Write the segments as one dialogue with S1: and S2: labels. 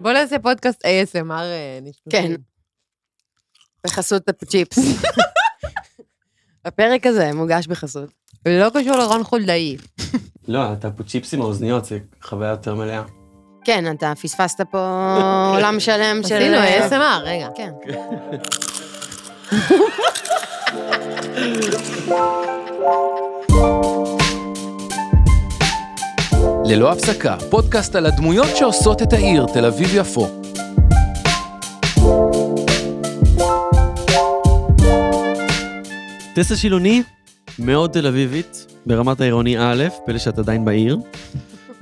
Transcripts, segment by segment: S1: בוא נעשה פודקאסט ASMR נשמע.
S2: כן. בחסות הצ'יפס. הפרק הזה מוגש בחסות.
S1: לא קשור לרון חולדאי.
S3: לא, אתה פה צ'יפס עם האוזניות, זה חוויה יותר מלאה.
S2: כן, אתה פספסת פה עולם שלם של...
S1: עשינו ASMR, רגע.
S2: כן.
S4: ללא הפסקה, פודקאסט על הדמויות שעושות את העיר תל אביב-יפו.
S3: טסה שילוני, מאוד תל אביבית, ברמת העירוני א', פלא שאת עדיין בעיר.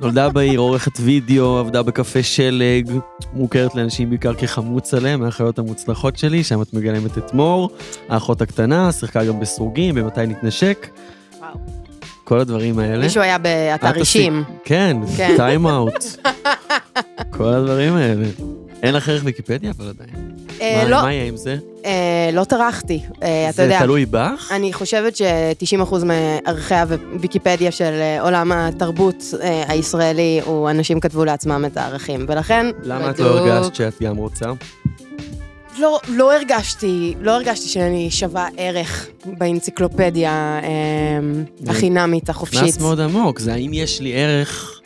S3: נולדה בעיר, עורכת וידאו, עבדה בקפה שלג, מוכרת לאנשים בעיקר כחמוץ עליהם, מהחיות המוצלחות שלי, שם את מגלמת את מור, האחות הקטנה, שיחקה גם בסרוגים, במתי נתנשק.
S2: וואו.
S3: כל הדברים האלה.
S2: מישהו היה
S3: את
S2: באתר אישים.
S3: כן,
S2: כן.
S3: טיים אאוט. כל הדברים האלה. אין לך ערך ויקיפדיה, אבל עדיין.
S2: אה,
S3: מה-
S2: לא,
S3: מה יהיה עם זה?
S2: אה, לא טרחתי, אה, אתה יודע.
S3: זה תלוי בך?
S2: אני חושבת ש-90% מערכי הוויקיפדיה של אה, עולם התרבות אה, הישראלי, הוא אנשים כתבו לעצמם את הערכים, ולכן
S3: למה את
S1: בדוק.
S3: לא הרגשת שאת גם רוצה?
S2: לא, לא הרגשתי, לא הרגשתי שאני שווה ערך באנציקלופדיה אה, החינמית, החופשית.
S3: נכנס מאוד עמוק, זה האם יש לי ערך...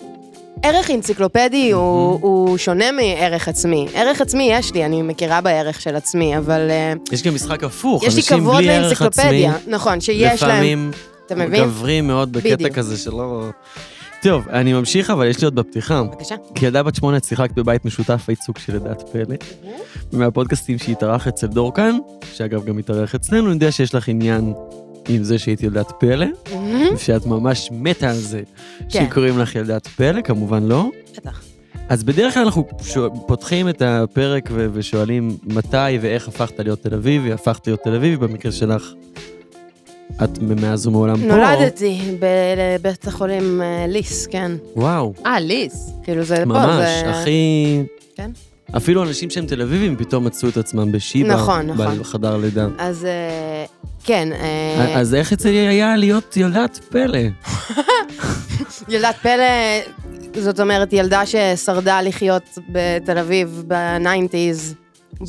S2: ערך אנציקלופדי הוא,
S3: Mhm.
S2: הוא שונה מערך עצמי. ערך עצמי יש לי, אני מכירה בערך של עצמי, אבל אה,
S3: יש גם משחק הפוך,
S2: יש לי
S3: אנשים
S2: כבוד
S3: בלי ערך עצמי,
S2: לאנציקלופדיה. נכון, שיש להם,
S3: לפעמים
S2: אתה מבין?
S3: גברים מאוד בקטע
S2: בדיוק.
S3: כזה שלא... טוב, אני ממשיך, אבל יש לי עוד בפתיחה.
S2: בבקשה.
S3: כילדה בת שמונה את שיחקת בבית משותף הייצוג של ידעת פלא. ומהפודקאסטים שהתארח אצל דורקן, שאגב גם התארח אצלנו, אני יודע שיש לך עניין עם זה שהיית ילדת פלא,
S2: Mhm.
S3: ושאת ממש מתה על זה
S2: כן,
S3: שקוראים לך ילדת פלא, כמובן לא.
S2: בטח.
S3: אז בדרך כלל אנחנו שו- פותחים את הפרק ו- ושואלים מתי ואיך הפכת להיות תל אביבי, הפכת להיות תל אביבי, במקרה שלך, את מאז ומעולם פה.
S2: נולדתי בבית החולים אה, ליס, כן.
S3: וואו,
S1: אה, ליס.
S2: כאילו זה פה,
S3: ממש,
S2: זה...
S3: הכי...
S2: כן.
S3: אפילו אנשים שהם תל אביבים פתאום מצאו את עצמם בשיבא,
S2: נכון, נכון.
S3: בחדר לידה.
S2: אז אה, כן, אה,
S3: אז איך אצלי היה להיות ילדת פלא?
S2: ילדת פלא, זאת אומרת, ילדה ששרדה לחיות בתל אביב בניינטיז,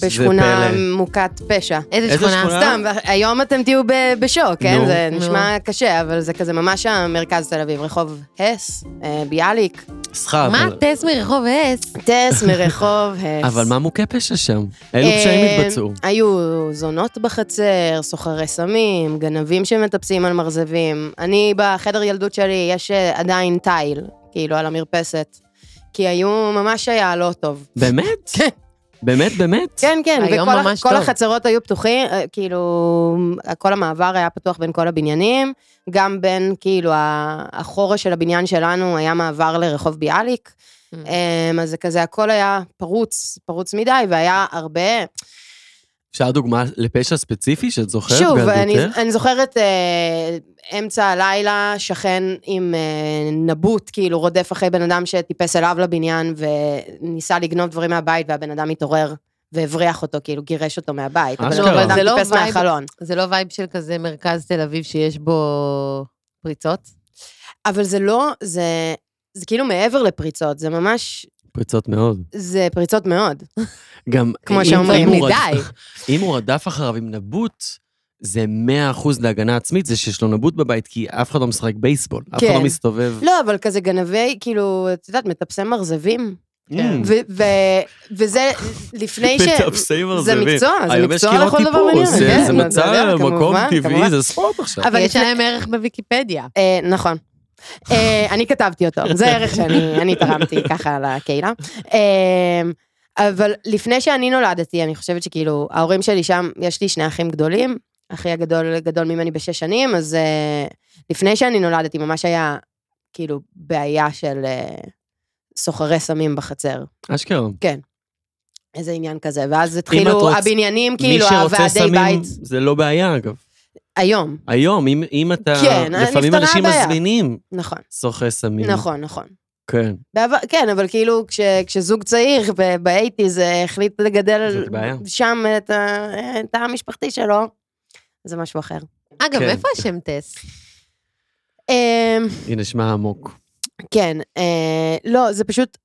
S2: בשכונה
S3: פלא.
S2: מוכת פשע.
S1: איזה
S3: איזה
S1: שכונה?
S3: שכונה?
S2: סתם, היום אתם תהיו ב- בשוק, כן?
S3: נו.
S2: זה נשמע
S1: נו.
S2: קשה, אבל זה כזה ממש המרכז תל אביב, רחוב הס, אה, ביאליק,
S3: סליחה,
S1: מה
S3: אבל...
S1: טס מרחוב אס?
S2: טס מרחוב הס.
S3: אבל מה מוכה פשע שם? אילו
S2: אה,
S3: פשעים התבצעו?
S2: היו זונות בחצר, סוחרי סמים, גנבים שמטפסים על מרזבים. אני, בחדר ילדות שלי, יש אה, עדיין תיל, כאילו, על המרפסת. כי היו, ממש היה לא טוב.
S3: באמת?
S2: כן.
S3: באמת, באמת?
S2: כן, כן,
S1: היום
S2: וכל
S1: ממש
S2: כל
S1: טוב.
S2: החצרות היו פתוחים, אה, כאילו, כל המעבר היה פתוח בין כל הבניינים, גם בין, כאילו, ה- החורש של הבניין שלנו היה מעבר לרחוב ביאליק,
S1: Mm.
S2: אה, אז זה כזה, הכל היה פרוץ, פרוץ מדי, והיה הרבה,
S3: אפשר דוגמה לפשע ספציפי שאת זוכרת
S2: שוב, אני,
S3: בילדותך?
S2: אני זוכרת אה, אמצע הלילה, שכן עם אה, נבוט, כאילו רודף אחרי בן אדם שטיפס אליו לבניין וניסה לגנוב דברים מהבית, והבן אדם התעורר והבריח אותו, כאילו גירש אותו מהבית. אבל
S3: אשכרה.
S2: הבן
S1: זה
S2: אדם
S1: לא
S2: טיפס
S1: וייב.
S2: מהחלון.
S1: זה לא וייב של כזה מרכז תל אביב שיש בו פריצות?
S2: אבל זה לא, זה, זה כאילו מעבר לפריצות, זה ממש,
S3: פריצות מאוד.
S2: זה פריצות מאוד.
S3: גם
S2: כמו
S3: אם-
S2: שאומרים,
S3: לא, אם הוא
S1: מדי.
S3: רדף- אם הוא רדף אחריו עם נבוט, זה 100% להגנה עצמית, זה שיש לו נבוט בבית, כי אף אחד לא משחק בייסבול, אף אחד
S2: כן.
S3: לא מסתובב.
S2: לא, אבל כזה גנבי, כאילו, את יודעת, מטפסי מרזבים.
S3: Mm.
S2: ו- ו- וזה לא, כן. לפני ש...
S3: מטפסים על
S2: זה
S3: מבין.
S2: מקצוע, זה
S3: לא, היום יש
S2: מקצוע
S3: קירות
S2: לכל דבר
S3: טיפוס,
S2: ועניין,
S3: זה-
S2: כן,
S3: זה
S2: נו, אתה
S3: מצא
S2: יודע,
S3: מקום
S2: כמובן,
S3: טבעי,
S2: כמובן.
S3: זה ספורט עכשיו.
S2: אבל
S1: יש
S2: לפני-
S1: להם ערך בוויקיפדיה.
S2: אה, נכון. אה, אני כתבתי אותו, זה ערך שאני אני תרמתי ככה לקהילה. אה, אבל לפני שאני נולדתי, אני חושבת שכאילו, ההורים שלי שם, יש לי שני אחים גדולים, אחי הגדול גדול ממני בשש שנים, אז אה, לפני שאני נולדתי ממש היה כאילו בעיה של אה, סוחרי סמים בחצר,
S3: אשכרה.
S2: איזה עניין כזה, ואז התחילו
S3: רוצ-
S2: הבניינים,
S3: מי
S2: כאילו,
S3: שרוצה
S2: הוועדי
S3: סמים,
S2: בית,
S3: זה לא בעיה אגב.
S2: היום,
S3: היום, אם- אם אתה...
S2: כן,
S3: לפעמים
S2: נפתרה
S3: אנשים
S2: הבעיה.
S3: מזמינים
S2: נכון,
S3: סוחרי סמים.
S2: נכון, נכון.
S3: כן.
S2: בעבר, כן, אבל כאילו כש, כשזוג צעיר באייטיז אה, החליט לגדל
S3: זאת בעיה.
S2: שם את ה- את התא המשפחתי שלו, זה משהו אחר.
S1: אגב,
S3: כן.
S1: איפה השם טס?
S2: אמ,
S3: היא נשמע עמוק.
S2: כן, אה, לא, זה פשוט...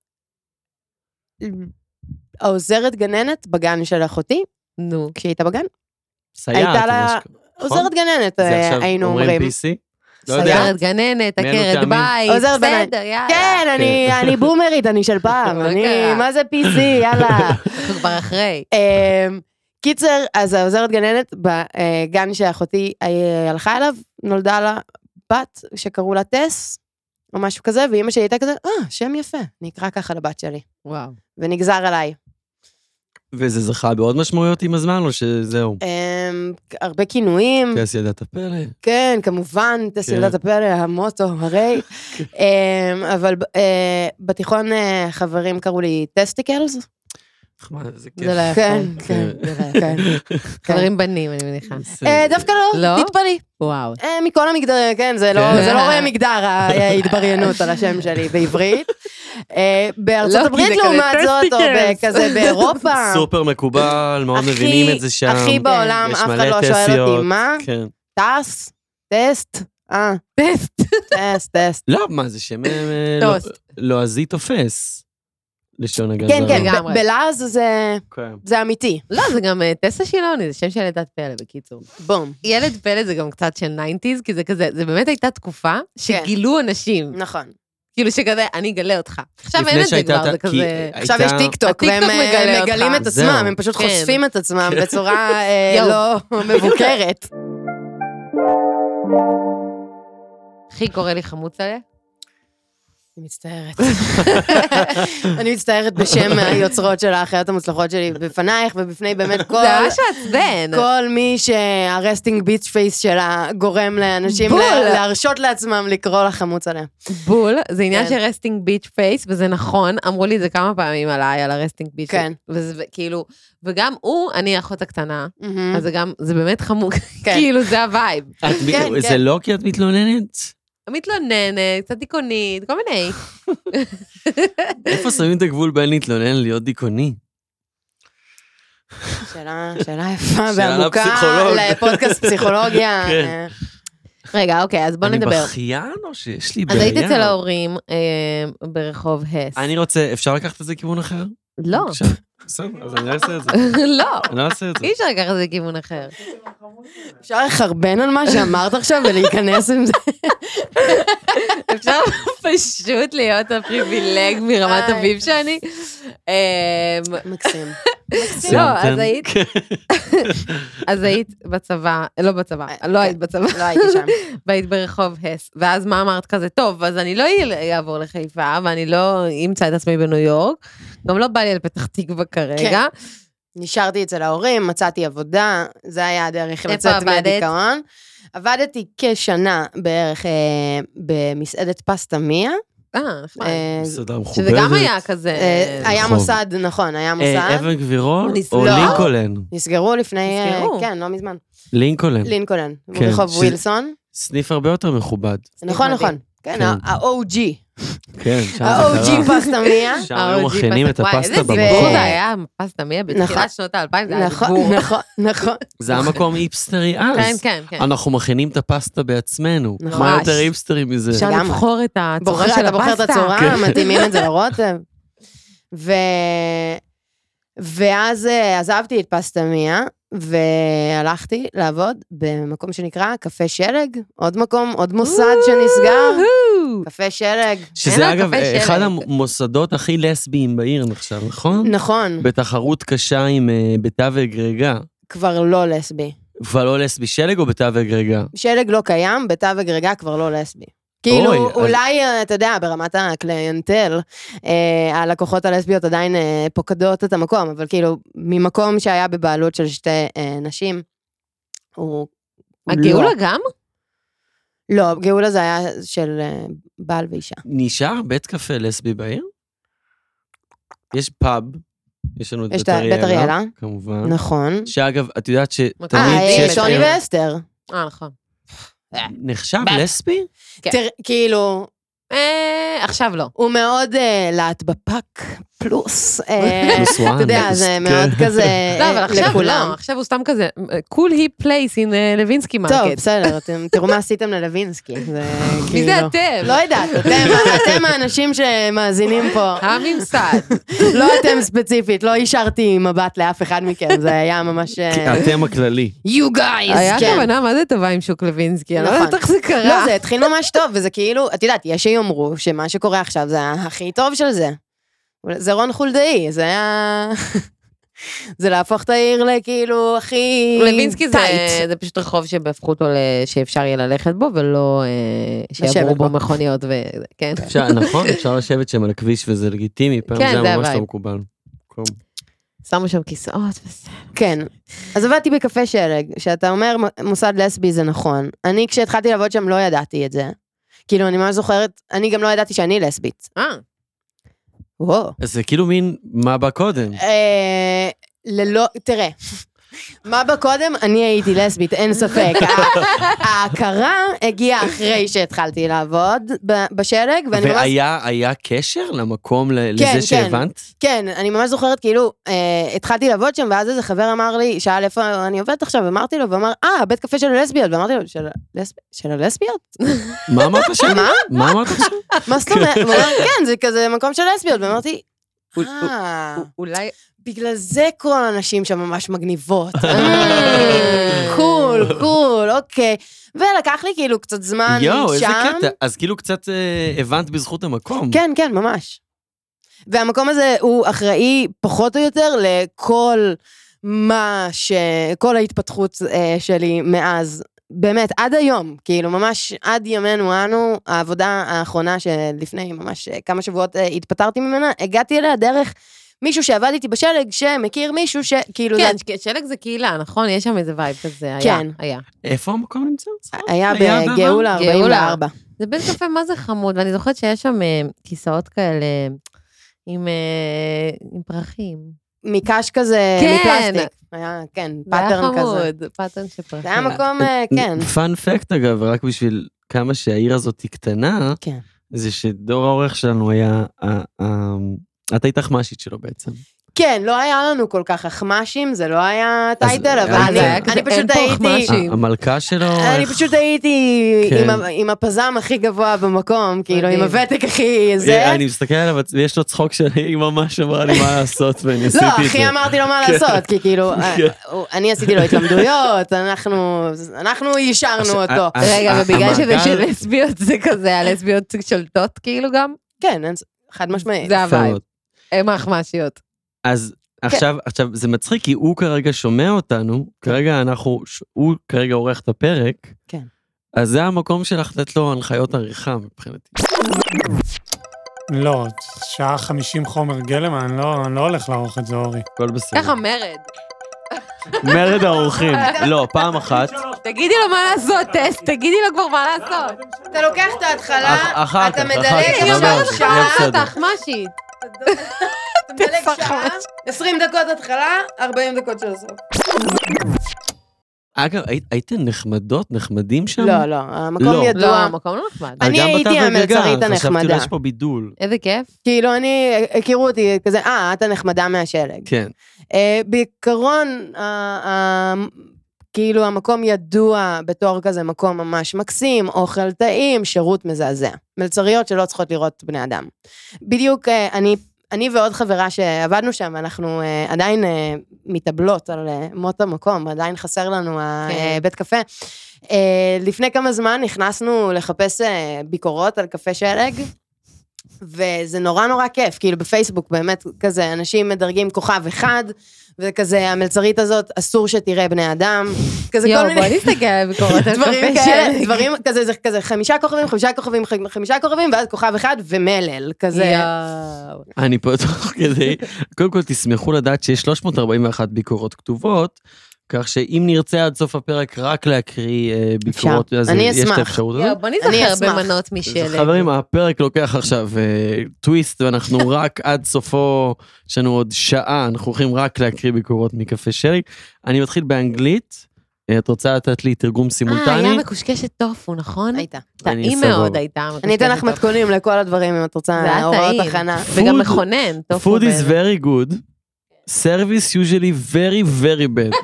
S2: העוזרת גננת בגן של אחותי,
S1: נו.
S2: כשהיא הייתה בגן.
S3: סייעת.
S2: הייתה לה-
S3: ממש ככה. נכון?
S2: עוזרת גננת,
S3: זה
S2: אה,
S3: עכשיו
S2: היינו אומרים.
S3: PC? לא
S2: סייעת.
S3: יודע.
S1: עוזרת גננת,
S3: מי אלו
S1: עקרת
S3: טעמים?
S1: בית,
S2: עוזרת בניים.
S1: בסדר, יאללה.
S2: כן, אני- אני בומרית, אני של פעם,
S3: אוקיי.
S1: מה
S2: אני,
S1: קרה?
S2: מה זה PC, יאללה.
S1: אנחנו כבר אחרי.
S2: אמ, קיצר, אז העוזרת גננת בגן שאחותי אה, הלכה אליו, נולדה לה בת שקראו לה טס, או משהו כזה, ואימא שלי הייתה כזה, אה, שם יפה, אני אקרא ככה לבת שלי.
S1: וואו.
S2: ונגזר עליי.
S3: וזה זכה בעוד משמעויות עם הזמן, או שזהו?
S2: אמ, הרבה כינויים,
S3: טס ידעת פלא.
S2: כן, כמובן, טס
S3: כן.
S2: ילדת הפלא, המוטו, הרי. אמ, אבל אה, בתיכון אה, חברים קראו לי טסטיקלס.
S3: מה, איזה כיף.
S1: זה לא יפה.
S2: כן, כן,
S1: זה לא יפה.
S2: כן. כן.
S1: חברים בנים, אני מניחה.
S3: זה-
S2: אה, דווקא לא,
S1: לא?
S2: תתפלאי.
S1: וואו.
S2: אה, מכל המגדרים, כן, זה לא
S3: כן.
S2: זה לא רואה מגדר, ההתבריינות על השם שלי בעברית. אה, בארצות
S1: לא,
S2: הברית
S1: כי זה כזה
S2: לעומת זאת, או
S1: טסטיקלס.
S2: כזה באירופה.
S3: סופר מקובל, מאוד
S2: הכי-
S3: מבינים את זה שם. כן,
S2: הכי בעולם,
S3: יש
S2: אף אחד
S3: מלא
S2: לא שואל
S3: טסיות.
S2: אותי, מה?
S3: כן.
S2: טס? טסט? אה,
S1: טסט.
S2: טסט, טסט.
S3: לא, מה זה שם אה, אה, לא-
S1: טוסט.
S3: לועזי תופס. לשון הגזרה.
S2: כן, כן,
S1: לגמרי.
S2: ב- בלעז זה-
S3: כן.
S2: זה אמיתי.
S1: לא, זה גם אה, טסה שילוני, זה שם של ילדת פלא, בקיצור.
S2: בום.
S1: ילד פלא זה גם קצת של 90's, כי זה כזה, זה באמת הייתה תקופה שגילו אנשים.
S2: נכון.
S1: כאילו שכזה, אני אגלה אותך. עכשיו
S3: לפני
S1: אין את זה
S3: שהייתה
S1: כבר,
S3: את
S1: זה
S3: ה- כי
S1: כזה...
S2: עכשיו יש
S3: הייתה-
S2: טיקטוק,
S1: הטיקטוק
S2: והם אה,
S1: מגלה אותך.
S2: מגלים את
S3: זהו.
S2: עצמם, הם פשוט
S1: כן.
S2: חושפים את עצמם בצורה אה,
S1: יואו.
S2: לא מבוקרת.
S1: אחי קורא לי חמוץ עליה.
S2: אני מצטערת. אני מצטערת בשם היוצרות של האחיות המוצלחות שלי בפנייך ובפני באמת
S1: זה
S2: כל...
S1: ממש מעצבן.
S2: כל מי שהרסטינג ביץ' פייס שלה גורם לאנשים
S1: בול.
S2: ל- להרשות לעצמם לקרוא לה חמוץ עליה.
S1: בול, זה עניין
S2: כן.
S1: של רסטינג ביץ' פייס, וזה נכון, אמרו לי את זה כמה פעמים עליי, על הרסטינג ביץ'
S2: כן.
S1: וזה כאילו, וגם הוא, אני האחות הקטנה,
S2: מהמם.
S1: אז זה גם, זה באמת חמור,
S2: כן.
S1: כאילו זה הווייב.
S3: את מי-
S2: כן,
S3: זה
S2: כן.
S3: לא כי את מתלוננת?
S1: מתלוננת, קצת דיכאונית, כל מיני.
S3: איפה שמים את הגבול בין להתלונן להיות דיכאוני?
S2: שאלה, שאלה יפה
S3: שאלה
S2: ועמוקה
S3: לפסיכולוג.
S2: לפודקאסט פסיכולוגיה.
S3: כן.
S2: אה,
S1: רגע, אוקיי, אז בוא
S3: אני
S1: נדבר.
S3: בכיין או שיש לי
S1: אז
S3: בעיה?
S1: היית אצל ההורים אה, ברחוב הס.
S3: אני רוצה, אפשר לקחת את זה לכיוון אחר?
S1: לא,
S3: בבקשה. בסדר, אז אני לא אעשה את זה.
S1: לא,
S3: אני לא אעשה את זה.
S1: אי אפשר לקחת את זה לכיוון אחר.
S2: אפשר לחרבן על מה שאמרת עכשיו ולהיכנס עם זה?
S1: אפשר פשוט להיות הפריבילג מרמת
S2: איי.
S1: אביב שאני. אמ,
S2: מקסים.
S1: לא,
S3: סיימתם? כן.
S1: אז היית, אז היית בצבא, לא בצבא,
S2: אה,
S1: לא
S2: כן.
S1: היית בצבא,
S2: לא הייתי שם.
S1: והיית ברחוב הס, ואז מה אמרת כזה, טוב, אז אני לא אעבור לחיפה, ואני לא אמצא את עצמי בניו יורק, גם לא בא לי לפתח תקווה כרגע.
S2: נשארתי אצל ההורים, מצאתי עבודה, זה היה הדרך
S1: איפה
S2: לצאת
S1: עבדת?
S2: מהדיכאון. עבדתי כשנה בערך אה, במסעדת פסטה מיה.
S1: אה, נחמד.
S2: אה,
S3: מסעדה
S1: שזה
S3: מכובדת.
S1: גם היה כזה,
S2: אה, היה
S3: רחוב.
S2: מוסד, נכון, היה
S3: אה,
S2: מוסד.
S3: אבן גבירול
S1: ניס-
S3: או
S2: לא.
S3: לינקולן?
S2: נסגרו לפני... אה,
S1: נסגרו.
S2: כן, לא מזמן.
S3: לינקולן.
S2: לינקולן,
S3: כן,
S2: ברחוב
S3: שזה-
S2: ווילסון.
S3: סניף הרבה יותר מכובד.
S2: נכון,
S1: מדהים.
S2: נכון. כן,
S3: כן.
S2: ה- ה-OG.
S3: כן, שם זה
S2: ה-OG
S3: קרה.
S2: פסטה מיה.
S3: שם היו
S1: ה-OG
S3: מכינים את
S1: פסטה. וואי,
S3: הפסטה
S1: אה, איזה דיבור
S3: במקום.
S1: זה היה, פסטה מיה
S2: נכון.
S1: בתחילת שנות האלפיים, זה היה דיבור.
S2: נכון, נכון, נכון.
S3: זה היה מקום איפסטרי אז.
S1: כן, כן, כן.
S3: אנחנו מכינים את הפסטה בעצמנו.
S2: נכון.
S3: מה יותר איפסטרי מזה?
S1: אפשר
S2: לגמרי.
S1: לבחור את הצורה
S2: בוחר,
S1: של
S2: אתה בוחר את
S1: הפסטה.
S2: הצורה, מתאימים את זה לרותם. ו... ואז אה, עזבתי את פסטמיה, והלכתי לעבוד במקום שנקרא קפה שלג, עוד מקום, עוד מוסד שנסגר,
S1: וואו.
S2: קפה שלג.
S1: אין
S3: שזה
S1: לה
S3: אגב
S1: קפה שלג.
S3: אחד המוסדות הכי לסביים בעיר נחשב, נכון?
S2: נכון,
S3: בתחרות קשה עם אה, ביתה ואגרגה.
S2: כבר לא לסבי.
S3: כבר לא לסבי שלג או ביתה ואגרגה?
S2: שלג לא קיים, בתו וגרגה כבר לא לסבי. כאילו,
S3: אוי, אז-
S2: אולי, אה, אתה יודע, ברמת הקליינטל, אה, הלקוחות הלסביות עדיין אה, פוקדות את המקום, אבל כאילו, ממקום שהיה בבעלות של שתי אה, נשים, הוא... הוא
S1: הגאולה
S2: לא.
S1: גם?
S2: לא, גאולה זה היה של אה, בעל ואישה.
S3: נשאר בית קפה לסבי בעיר? יש פאב, יש לנו את
S2: יש
S3: בית
S2: את ה- בית
S3: אריאלה,
S2: אריאלה.
S3: כמובן.
S2: נכון.
S3: שאגב, את יודעת
S1: אה,
S3: שתמיד
S2: אה,
S3: אה? כשיש
S1: שיש
S2: שוני
S3: ערב
S2: ואסתר.
S1: אה, נכון.
S3: אה, נחשב לסבי?
S1: כן.
S2: תראה, כאילו,
S1: אה, עכשיו לא.
S2: הוא מאוד אה, להט בפאק, פלוס. אה,
S3: פלוס וואן.
S2: אתה יודע, זה
S3: כן.
S2: מאוד כזה
S1: לא, אבל
S2: אה,
S1: עכשיו
S2: לכולם.
S1: לא, עכשיו הוא סתם כזה, cool he place in אה, לוינסקי
S2: טוב,
S1: מרקט.
S2: בסדר, אתם- תראו מה עשיתם ללווינסקי. זה
S1: מי זה
S2: כאילו-
S1: אתם?
S2: לא יודעת, אתם- אתם האנשים שמאזינים פה.
S1: הממסד.
S2: לא אתם ספציפית, לא השארתי מבט לאף אחד מכם, זה היה ממש... אה,
S1: כן.
S3: אתם הכללי.
S2: You guys,
S1: היה
S2: כן.
S1: כוונה מה זה טובה עם שוק לוינסקי, אני לא
S2: נכון.
S1: יודעת איך זה קרה.
S2: לא, זה התחיל ממש טוב, וזה כאילו, את יודעת, יש שיאמרו שמה שקורה עכשיו זה הכי טוב של זה. אבל זה רון חולדאי, זה היה... זה להפוך את העיר לכאילו הכי...
S1: לוינסקי זה,
S2: טייט.
S1: זה פשוט רחוב שהפכו אותו, ל- שאפשר יהיה ללכת בו, ולא אה,
S2: לשבת
S1: שיעברו בו
S2: בו.
S1: מכוניות ו... כן.
S3: אפשר- נכון, אפשר לשבת שם על הכביש וזה לגיטימי, פעם
S1: כן,
S3: זה
S1: זה
S3: היה ממש
S1: הווייב.
S3: לא מקובל. כלום.
S1: שמו שם כיסאות וזה.
S2: כן. אז עבדתי בקפה שלג, שאתה אומר "מ- מוסד לסבי זה נכון. אני כשהתחלתי לעבוד שם לא ידעתי את זה. כאילו, אני ממש זוכרת, אני גם לא ידעתי שאני לסבית.
S1: אה,
S2: וואו.
S3: אז זה כאילו מין, מה בא קודם?
S2: אה, ללא, תראה. מה בקודם? אני הייתי לסבית, אין ספק. ה- ההכרה הגיעה אחרי שהתחלתי לעבוד ב- בשלג, ואני ממש...
S3: והיה היה קשר למקום, ל-
S2: כן, כן.
S3: לזה שהבנת?
S2: כן, אני ממש זוכרת, כאילו, אה, התחלתי לעבוד שם, ואז איזה חבר אמר לי, שאל איפה אני עובדת עכשיו, אמרתי לו, ואמר, אה, בית קפה של הלסביות, ואמרתי לו, "של הלס- של הלסביות?
S3: מה אמרת שם?
S2: מה?
S3: מה אמרת שם?
S2: מה זאת אומרת? הוא אמר, כן, זה כזה מקום של לסביות, ואמרתי,
S1: הוא-
S2: אה,
S1: אולי...
S2: בגלל זה כל הנשים שם ממש מגניבות.
S1: אה.
S2: קול, קול, אוקיי. ולקח לי כאילו קצת זמן שם.
S3: יואו, איזה קטע. אז כאילו קצת אה, הבנת בזכות המקום.
S2: כן, כן, ממש. והמקום הזה הוא אחראי פחות או יותר לכל מה ש... כל ההתפתחות אה, שלי מאז. באמת, עד היום, כאילו, ממש עד ימינו אנו, העבודה האחרונה שלפני ממש אה, כמה שבועות אה, התפטרתי ממנה, הגעתי אליה דרך מישהו שעבד איתי בשלג, שמכיר מישהו שכאילו... זה
S1: כן, ש- שלג זה קהילה, נכון? יש שם איזה וייב כזה, היה.
S2: כן.
S1: היה.
S3: איפה המקום נמצא?
S2: היה
S3: היה בעבר?
S2: בגאולה
S1: גאולה.
S2: 44.
S1: זה בית קפה מה זה חמוד, ואני זוכרת שיש שם אה, כיסאות כאלה עם אה, עם פרחים.
S2: מקש כזה,
S1: כן.
S2: מפלסטיק. היה, כן,
S1: זה היה
S2: פאטרן כזה.
S1: חמוד, פאטרן של פרחים.
S2: זה היה מקום, אה, כן.
S3: פאנפקט אגב, רק בשביל כמה שהעיר הזאת היא קטנה,
S2: כן.
S3: זה שדור האורך שלנו היה, ה- ה- את היית אחמ"שית שלו בעצם.
S2: כן, לא היה לנו כל כך אחמ"שים, זה לא היה
S3: אז-
S2: טייטל, אבל
S3: אז
S2: אני-
S3: זה היה
S1: כזה,
S2: אני
S1: אין
S2: פשוט
S1: פה
S2: הייתי...
S1: אחמ"שים.
S3: ה- המלכה שלו,
S2: אני
S3: איך-
S2: פשוט הייתי
S3: כן.
S2: עם ה- עם הפזם הכי גבוה במקום, כאילו, עם
S1: מדהים.
S2: הוותק הכי זה.
S3: אה, אני מסתכל עליו, ויש לו צחוק שהיא ממש אמרה לי מה לעשות, ואני עשיתי
S2: לא,
S3: את זה. כן.
S2: אחי אמרתי לו מה לעשות, כי כאילו, אה, הוא- אני עשיתי לו התלמדויות, אנחנו אנחנו
S3: עכשיו,
S2: יישרנו אותו.
S3: אה, אה,
S1: רגע,
S3: ה-
S1: ובגלל שזה
S3: המעגל-
S1: של לסביות זה כזה, הלסביות שולטות כאילו גם?
S2: כן, אין ס- חד משמעית.
S1: זה
S3: יפה
S1: הווייב,
S3: מאוד.
S1: הם אחמ"שיות.
S3: אז עכשיו, עכשיו, זה מצחיק, כי הוא כרגע שומע אותנו, כרגע אנחנו, ש- הוא כרגע עורך את הפרק.
S2: כן.
S3: אז זה המקום שלך לתת לו הנחיות עריכה מבחינתי.
S5: לא, שעה 50 חומר גלם, אני לא, אני לא הולך לערוך את זה, אורי.
S3: הכל בסדר.
S1: ככה מרד.
S3: מרד האורחים. לא, פעם אחת.
S1: תגידי לו מה לעשות, טס, תגידי לו כבר מה לעשות.
S2: אתה לוקח את
S3: אח-
S2: ההתחלה,
S3: אחר
S2: אתה
S3: כך,
S2: מדלג,
S3: אחר כך,
S2: יש
S1: היא
S3: נדבר על
S1: אומרת
S2: לך
S3: זה,
S1: לך
S3: יהיה
S2: שעה,
S1: מה
S3: בסדר.
S1: לעשות, אחמ"שית.
S2: אתה מדלג
S1: תפח
S2: שעה, 20 דקות התחלה, 40 דקות של הסוף.
S3: אגב, היית- הייתן נחמדות, נחמדים שם?
S2: לא, לא, המקום
S3: לא.
S1: לא,
S2: ידוע.
S1: המקום לא נחמד.
S3: אבל
S2: אני
S3: גם
S2: הייתי
S3: בתו וגלגל,
S2: המלצרית
S3: חשבתי
S2: הנחמדה.
S3: אולי יש פה בידול.
S1: איזה כיף.
S2: כאילו, אני, הכירו אותי כזה, אה, את הנחמדה מהשלג.
S3: כן.
S2: אה, בעיקרון, ה- ה- כאילו, המקום ידוע בתור כזה מקום ממש מקסים, אוכל טעים, שירות מזעזע. מלצריות שלא צריכות לראות בני אדם. בדיוק, אה, אני... אני ועוד חברה שעבדנו שם, אנחנו אה, עדיין אה, מתאבלות על אה, מות המקום, עדיין חסר לנו
S1: כן.
S2: הבית קפה. אה, לפני כמה זמן נכנסנו לחפש אה, ביקורות על קפה שלג, וזה נורא נורא כיף, כאילו בפייסבוק באמת כזה, אנשים מדרגים כוכב אחד, וכזה המלצרית הזאת, אסור שתראה בני אדם, כזה כל
S1: יואו,
S2: מיני...
S1: בוא נסתכל על ביקורת על
S2: דברים
S1: קפה
S2: כאלה,
S1: שלג.
S2: דברים כזה, זה כזה חמישה כוכבים, חמישה כוכבים, חמ- חמישה כוכבים, ואז כוכב אחד ומלל, כזה.
S1: יואו.
S3: אני פה תוך כדי, קודם כל תשמחו לדעת שיש 341 ביקורות כתובות, כך שאם נרצה עד סוף הפרק רק להקריא אה, ביקורות, אז
S2: אני
S3: יש את
S2: אשמח.
S3: האפשרות
S1: יואו,
S3: הזאת.
S1: בוא
S2: אני
S1: נזכר
S2: אשמח.
S1: במנות
S3: אז
S1: משלג.
S3: חברים, הפרק לוקח עכשיו אה, טוויסט, ואנחנו רק עד סופו, יש לנו עוד שעה, אנחנו הולכים רק להקריא ביקורות מקפה שלי. אני מתחיל באנגלית, אה, אה, את רוצה לתת לי תרגום
S1: אה, היה
S3: סימולטני?
S1: מקושקשת טופו, נכון?
S2: הייתה.
S3: אני
S1: טעים
S3: סבבה.
S1: מאוד הייתה מקושקשת
S2: אני אתן לך
S1: טופו.
S2: מתכונים לכל הדברים אם את
S1: זה היה
S2: רוצה, הוראות
S1: טעים.
S2: הכנה.
S1: וגם
S3: Food-
S1: מכונן, טופו.
S3: Food is
S1: באמת.
S3: very
S1: כן.
S3: good. Service usually very very bad.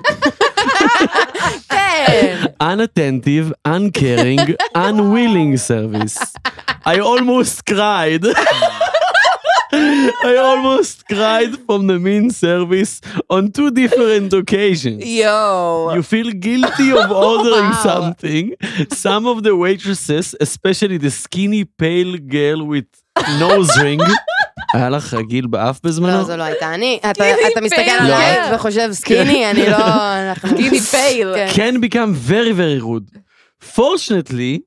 S1: כן.
S3: Unattentive, uncaring, unwilling service. I almost cried. I almost cried from the mean service on two different occasions.
S1: יואו.
S3: You feel guilty of ordering
S1: Wow.
S3: something. Some of the waitresses, especially the skinny pale girl with nose ring, היה לך רגיל באף
S2: לא,
S3: בזמנו?
S2: זו לא הייתה אני. אתה-
S1: סקיני
S2: אתה מסתכל
S1: פייל.
S2: עליי
S1: לא.
S2: וחושב סקיני, אני לא... אנחנו-
S1: גיני פייל.
S2: כן.
S3: Can become very very rude. Fortunately,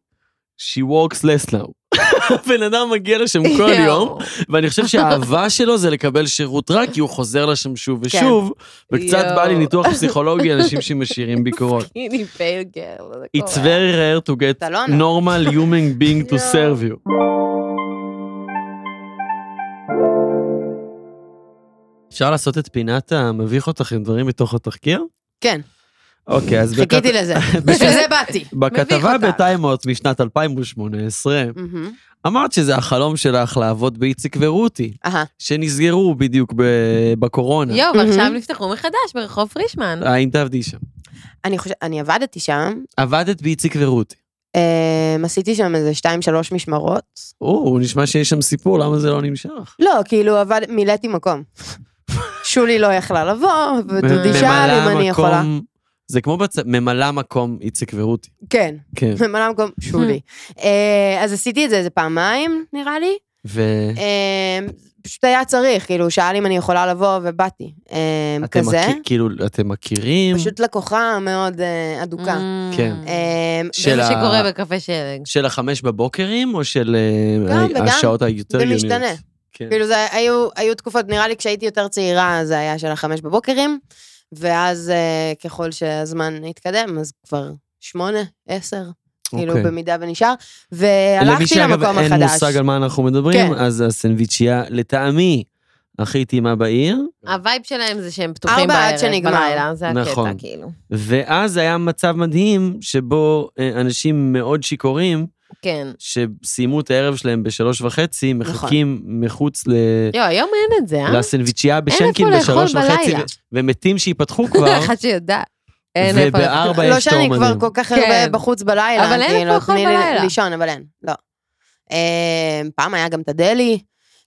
S3: she works less now. הבן אדם מגיע לשם כל יום,
S1: יואו.
S3: ואני חושב שהאהבה שלו זה לקבל שירות רע, כי הוא חוזר לשם שוב ושוב,
S2: כן.
S3: וקצת בא לי
S1: יואו.
S3: ניתוח פסיכולוגי, אנשים שמשאירים ביקורות.
S1: גיני פייל גרל. זה
S3: It's
S1: קורה.
S3: very rare to get
S2: אוקיי. אתה לא ענה.
S3: normal human being to serve you. אפשר לעשות את פינת המביך אותך עם דברים מתוך התחקיר?
S2: כן,
S3: אוקיי, אז בכת-
S2: חיכיתי לזה. בשביל זה באתי.
S3: בכתבה
S1: אותך.
S3: בטיימאוט משנת 2018,
S2: מהמם.
S3: אמרת שזה החלום שלך לעבוד באיציק ורותי,
S2: אהה.
S3: שנסגרו בדיוק ב- בקורונה.
S1: יואו, ועכשיו
S2: מהמם.
S1: נפתחו מחדש ברחוב פרישמן.
S3: האם תעבדי שם?
S2: אני חושבת, אני עבדתי שם,
S3: עבדת באיציק ורותי.
S2: אמ, עשיתי שם איזה שתיים, שלוש משמרות.
S3: או, נשמע שיש שם סיפור, למה זה לא נמשך?
S2: לא, כאילו, עבד, מילאתי מקום. שולי לא יכלה לבוא, ודודי שאל
S3: ממלא
S2: אם אני יכולה.
S3: מקום- זה כמו בצ... ממלא מקום איציק ורותי.
S2: כן,
S3: כן.
S2: ממלא מקום שולי. אה, אז עשיתי את זה איזה פעמיים, נראה לי.
S3: ואתם
S2: אה, פשוט היה צריך, כאילו, הוא שאל אם אני יכולה לבוא, ובאתי. אה, כזה.
S3: מכיר- כאילו, אתם מכירים?
S2: פשוט לקוחה מאוד אה, אדוקה.
S3: כן.
S2: אה,
S1: Mm. זה
S3: של
S1: מה
S3: ה-
S1: שקורה בקפה שלג.
S3: של החמש בבוקרים, או של אה,
S2: גם וגם.
S3: השעות היותר
S2: זה
S3: יוניות?
S2: משתנה.
S3: כן.
S2: כאילו זה היו, היו תקופות, נראה לי כשהייתי יותר צעירה זה היה של החמש בבוקרים, ואז אה, ככל שהזמן התקדם, אז כבר שמונה, עשר, כאילו
S3: אוקיי.
S2: במידה ונשאר, והלכתי למקום
S3: למי שאגב אין
S2: החדש.
S3: מושג על מה אנחנו מדברים,
S2: כן.
S3: אז הסנדוויצ'יה, לטעמי, הכי טעימה בעיר,
S1: הווייב שלהם זה שהם פתוחים
S2: ארבע
S1: בערב,
S2: עד שנגמר.
S1: בלילה, זה
S3: נכון.
S1: הקטע, כאילו.
S3: ואז היה מצב מדהים שבו אה, אנשים מאוד שיכורים,
S1: כן.
S3: שסיימו את הערב שלהם בשלוש וחצי, מחכים מחוץ ל...
S1: יואו, היום אין את זה, אה?
S3: לסנדוויצ'יה
S1: איפה
S3: בשנקין
S1: לאכול
S3: כאילו בשלוש וחצי,
S1: בלילה.
S3: ו- ומתים שייפתחו כבר,
S1: אחד שיודע. אין איפה לאכול.
S3: ובארבע
S2: לא
S3: יש
S2: שאני
S3: תור
S2: כבר
S3: מדהים.
S2: כל כך הרבה
S1: כן.
S2: בחוץ בלילה,
S1: אבל אין
S2: כאילו,
S1: איפה לאכול
S2: תני לי
S1: בלילה.
S2: לישון, אבל אין, לא. אה, פעם היה גם את הדלי.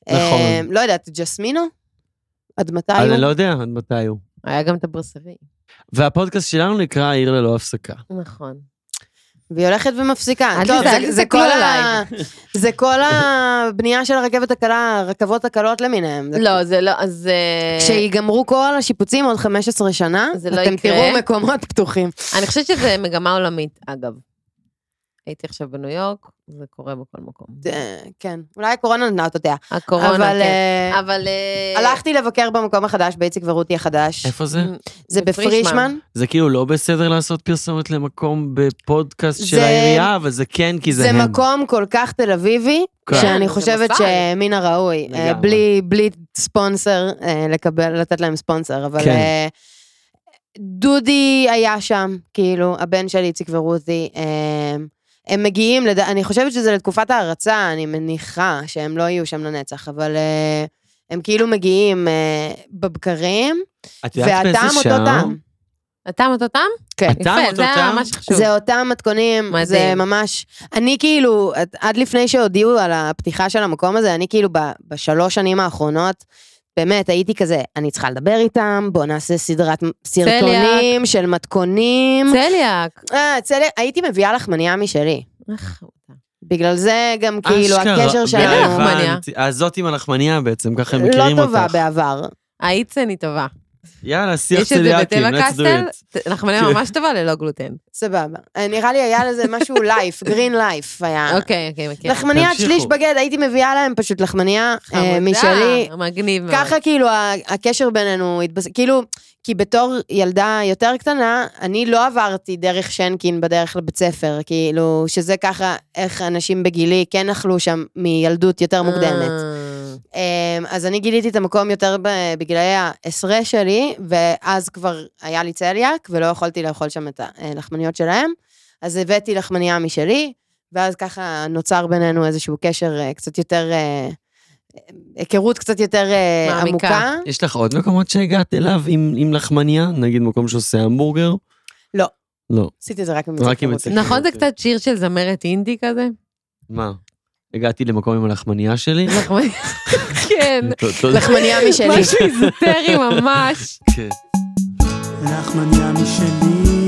S3: נכון.
S2: אה, לא יודעת, ג'סמינו? עד מתי
S3: אני לא
S2: הוא?
S3: יודע עד מתי הוא.
S1: היה גם את הברסרי.
S3: והפודקאסט שלנו נקרא העיר ללא הפסקה.
S1: נכון.
S2: והיא הולכת ומפסיקה.
S1: אל
S2: טוב,
S1: תסתכל,
S2: זה-
S1: אל
S2: זה
S1: תסתכלו
S2: כל ה...
S1: עליי.
S2: זה כל הבנייה של הרכבת הקלה, הרכבות הקלות למיניהם. זה-
S1: לא, זה לא, אז... אה,
S2: כשיגמרו כל השיפוצים עוד 15 שנה,
S1: זה לא
S2: אתם
S1: יקרה.
S2: תראו מקומות פתוחים.
S1: אני חושבת שזה מגמה עולמית, אגב. הייתי עכשיו בניו יורק, זה קורה בכל מקום.
S2: אה, כן, אולי הקורונה נתנה את אותיה.
S1: הקורונה,
S2: אבל
S1: כן.
S2: אה,
S1: אבל... אה,
S2: הלכתי לבקר במקום החדש, באיציק ורותי החדש.
S3: איפה זה?
S2: זה בפרישמן.
S3: זה כאילו לא בסדר לעשות פרסומת למקום בפודקאסט של
S2: זה-
S3: העירייה, אבל זה כן כי זה
S2: זה
S3: הם.
S2: מקום כל כך תל אביבי,
S3: כן.
S2: שאני
S1: זה
S2: חושבת
S1: מפעל.
S2: שמן הראוי, אה,
S3: לגמרי.
S2: בלי- בלי ספונסר, אה, לקבל, לתת להם ספונסר, אבל...
S3: כן.
S2: אה, דודי היה שם, כאילו, הבן של איציק ורותי. אה, הם מגיעים, לד... אני חושבת שזה לתקופת ההרצה, אני מניחה שהם לא יהיו שם לנצח, אבל אה, הם כאילו מגיעים אה, בבקרים,
S3: את יודעת באיזה
S2: והטעם אותו
S3: שעה?
S2: טעם.
S1: הטעם אותו טעם?
S2: כן.
S3: הטעם
S1: יפה,
S3: אותו
S1: זה
S3: טעם?
S1: מה שחשוב.
S2: זה אותם מתכונים,
S1: מדהים.
S2: זה ממש... אני כאילו, עד- עד לפני שהודיעו על הפתיחה של המקום הזה, אני כאילו ב- בשלוש שנים האחרונות, באמת, הייתי כזה, אני צריכה לדבר איתם, בואו נעשה סדרת סרטונים של מתכונים.
S1: צליאק.
S2: אה, צלק, הייתי מביאה לחמניה משלי.
S1: איך אותה.
S2: בגלל זה גם כאילו
S3: אשכרה,
S2: הקשר שלנו
S1: בערב.
S3: הבנתי. אז זאת עם הלחמניה בעצם, ככה הם מכירים
S2: לא טובה
S3: אותך.
S2: בעבר.
S1: האיצן היא טובה.
S3: יאללה, שיח
S1: יש את זה
S3: צליאקים,
S1: בטבע
S3: let's do
S1: קסטל,
S3: it.
S1: לחמניה
S3: כן.
S1: ממש טובה ללא גלוטן.
S2: סבבה. אה, נראה לי היה לזה משהו לייף, גרין לייף היה.
S1: אוקיי, אוקיי, מכירה.
S2: לחמניית
S3: תמשיכו.
S2: שליש בגד, הייתי מביאה להם פשוט לחמניה אה,
S1: חמודה,
S2: משלי.
S1: מגניב מאוד. אה.
S2: ככה כאילו ה- הקשר בינינו התבס... כאילו, כי בתור ילדה יותר קטנה, אני לא עברתי דרך שנקין בדרך לבית ספר, כאילו, שזה ככה איך אנשים בגילי כן אכלו שם מילדות יותר מוקדמת.
S1: אה,
S2: אה, אז אני גיליתי את המקום יותר ב- בגילאי העשרה שלי, ואז כבר היה לי צליאק, ולא יכולתי לאכול שם את הלחמניות שלהם. אז הבאתי לחמנייה משלי, ואז ככה נוצר בינינו איזשהו קשר אה, קצת יותר, אה, היכרות קצת יותר אה,
S1: מעמיקה.
S2: עמוקה.
S3: יש לך עוד מקומות שהגעת אליו עם, עם לחמניה? נגיד מקום שעושה המבורגר?
S2: לא.
S3: לא.
S2: עשיתי את זה רק עם
S3: רק עם
S2: היכרות.
S3: הצליאק.
S1: נכון זה קצת שיר של זמרת אינדי כזה?
S3: מה? הגעתי למקום עם הלחמניה שלי?
S2: לא.
S1: נכון. כן.
S3: תודה.
S2: לחמנייה משלי.
S1: משהו
S3: אוקיי.
S1: איזוטרי ממש.
S3: כן.
S5: לחמניה משלי.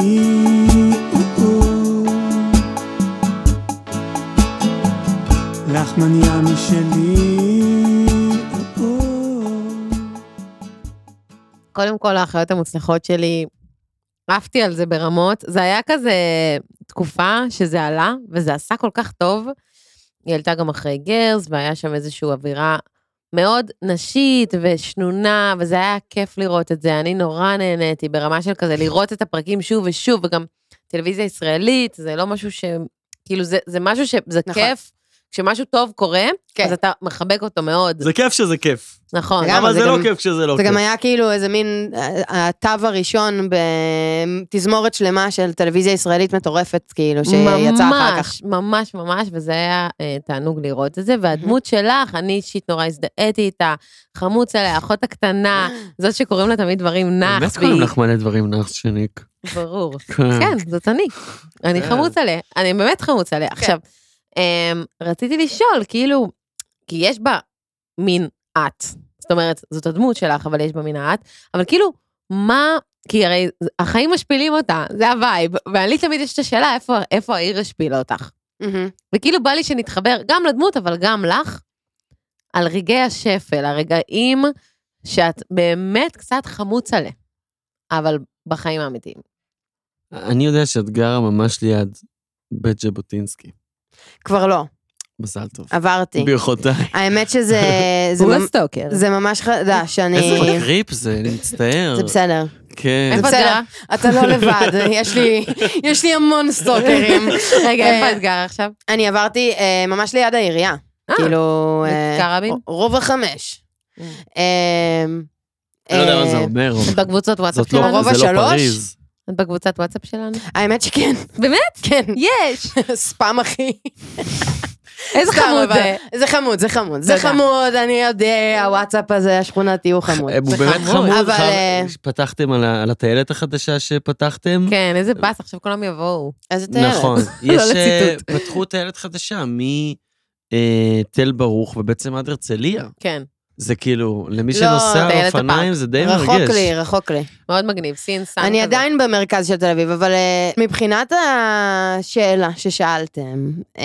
S5: לחמניה משלי.
S1: קודם כל, האחיות המוצלחות שלי, עפתי על זה ברמות. זה היה כזה תקופה שזה עלה, וזה עשה כל כך טוב. היא עלתה גם אחרי גרס, והיה שם איזושהי אווירה מאוד נשית ושנונה, וזה היה כיף לראות את זה. אני נורא נהניתי ברמה של כזה לראות את הפרקים שוב ושוב, וגם טלוויזיה ישראלית, זה לא משהו ש... כאילו, זה, זה משהו ש... זה נכון.
S2: נכון.
S1: כיף. כשמשהו טוב קורה,
S2: כן.
S1: כן. אז אתה מחבק אותו מאוד.
S3: זה כיף שזה כיף.
S1: נכון.
S2: לגמרי.
S3: אבל
S2: זה
S3: זה לא
S2: גם-
S3: כיף כשזה לא
S2: זה
S3: כיף.
S2: גם היה כאילו איזה מין אה, התו הראשון בתזמורת שלמה של טלוויזיה ישראלית מטורפת, כאילו, שיצא אחר כך.
S1: ממש, ממש, ממש, וזה היה אה, תענוג לראות את זה. והדמות שלך, אני אישית נורא הזדהיתי איתה, חמוץ עליה, האחות הקטנה, זאת שקוראים לה תמיד דברים נח
S3: באמת
S1: בי.
S3: קוראים אה. לך מלא דברים נח שניק.
S1: ברור. כן, זאת אני. אני
S2: אה.
S3: כן.
S1: חמוץ עליה, אני באמת חמוץ עליה.
S2: כן.
S1: עכשיו, אמ, רציתי לשאול, כאילו, כי יש בה מין את. זאת אומרת, זאת הדמות שלך, אבל יש בה מין את. אבל כאילו, מה... כי הרי החיים משפילים אותה, זה הווייב. ואני תמיד יש את השאלה, איפה- איפה העיר השפילה אותך?
S2: מהמם.
S1: וכאילו בא לי שנתחבר גם לדמות, אבל גם לך, על רגעי השפל, הרגעים שאת באמת קצת חמוץ עליה, אבל בחיים האמיתיים.
S3: אני יודע שאת גרה ממש ליד בית ז'בוטינסקי.
S2: כבר לא,
S3: מזל טוב.
S2: עברתי.
S3: ברכותיי.
S2: האמת שזה זה
S1: הוא
S2: ממ-
S1: הסטוקר.
S2: זה ממש חדש, אני...
S3: לא איזה מקריפ זה, אני מצטער.
S2: זה בסדר.
S3: כן.
S1: איפה את
S2: בסדר.
S1: גרה?
S2: אתה לא לבד, יש לי- יש לי המון סטוקרים.
S1: רגע,
S2: אה,
S1: איפה את גרה עכשיו?
S2: אני עברתי אה, ממש ליד העירייה.
S1: אה,
S2: כאילו... אה,
S1: בכיכר רבין?
S2: רוב החמש. אה,
S3: אני לא יודע מה זה
S2: אה,
S3: אומר. אבל
S1: את בקבוצות וואטסאפ
S3: זאת לא
S1: שלנו?
S2: רוב
S3: זה לא
S2: השלוש?
S3: פריז.
S1: את בקבוצת וואטסאפ שלנו?
S2: האמת שכן,
S1: באמת?
S2: כן.
S1: יש!
S2: ספאם אחי.
S1: איזה
S2: סתם,
S1: חמוד
S2: אבל-
S1: זה.
S2: זה חמוד, זה חמוד. זה
S1: תודה.
S2: חמוד, אני יודע, הוואטסאפ הזה, השכונתי הוא חמוד.
S3: אה, הוא באמת
S1: חמוד.
S3: חמוד.
S2: אבל,
S3: חם-
S2: אה,
S3: פתחתם על ה- על הטיילת החדשה שפתחתם?
S1: כן, איזה באס, עכשיו כולם יבואו.
S2: איזה תארת.
S3: נכון.
S2: לא
S3: יש... אה,
S1: לציטוט.
S3: פתחו טיילת חדשה מתל ברוך ובעצם עד הרצליה.
S1: כן,
S3: זה כאילו, למי
S2: לא,
S3: שנוסע על
S1: טיילת
S3: אופניים זה די מרגש.
S2: רחוק לי, רחוק לי.
S1: מאוד מגניב, סין, סאן כזה.
S2: אני עדיין במרכז של תל אביב, אבל אה, מבחינת השאלה ששאלתם, אה,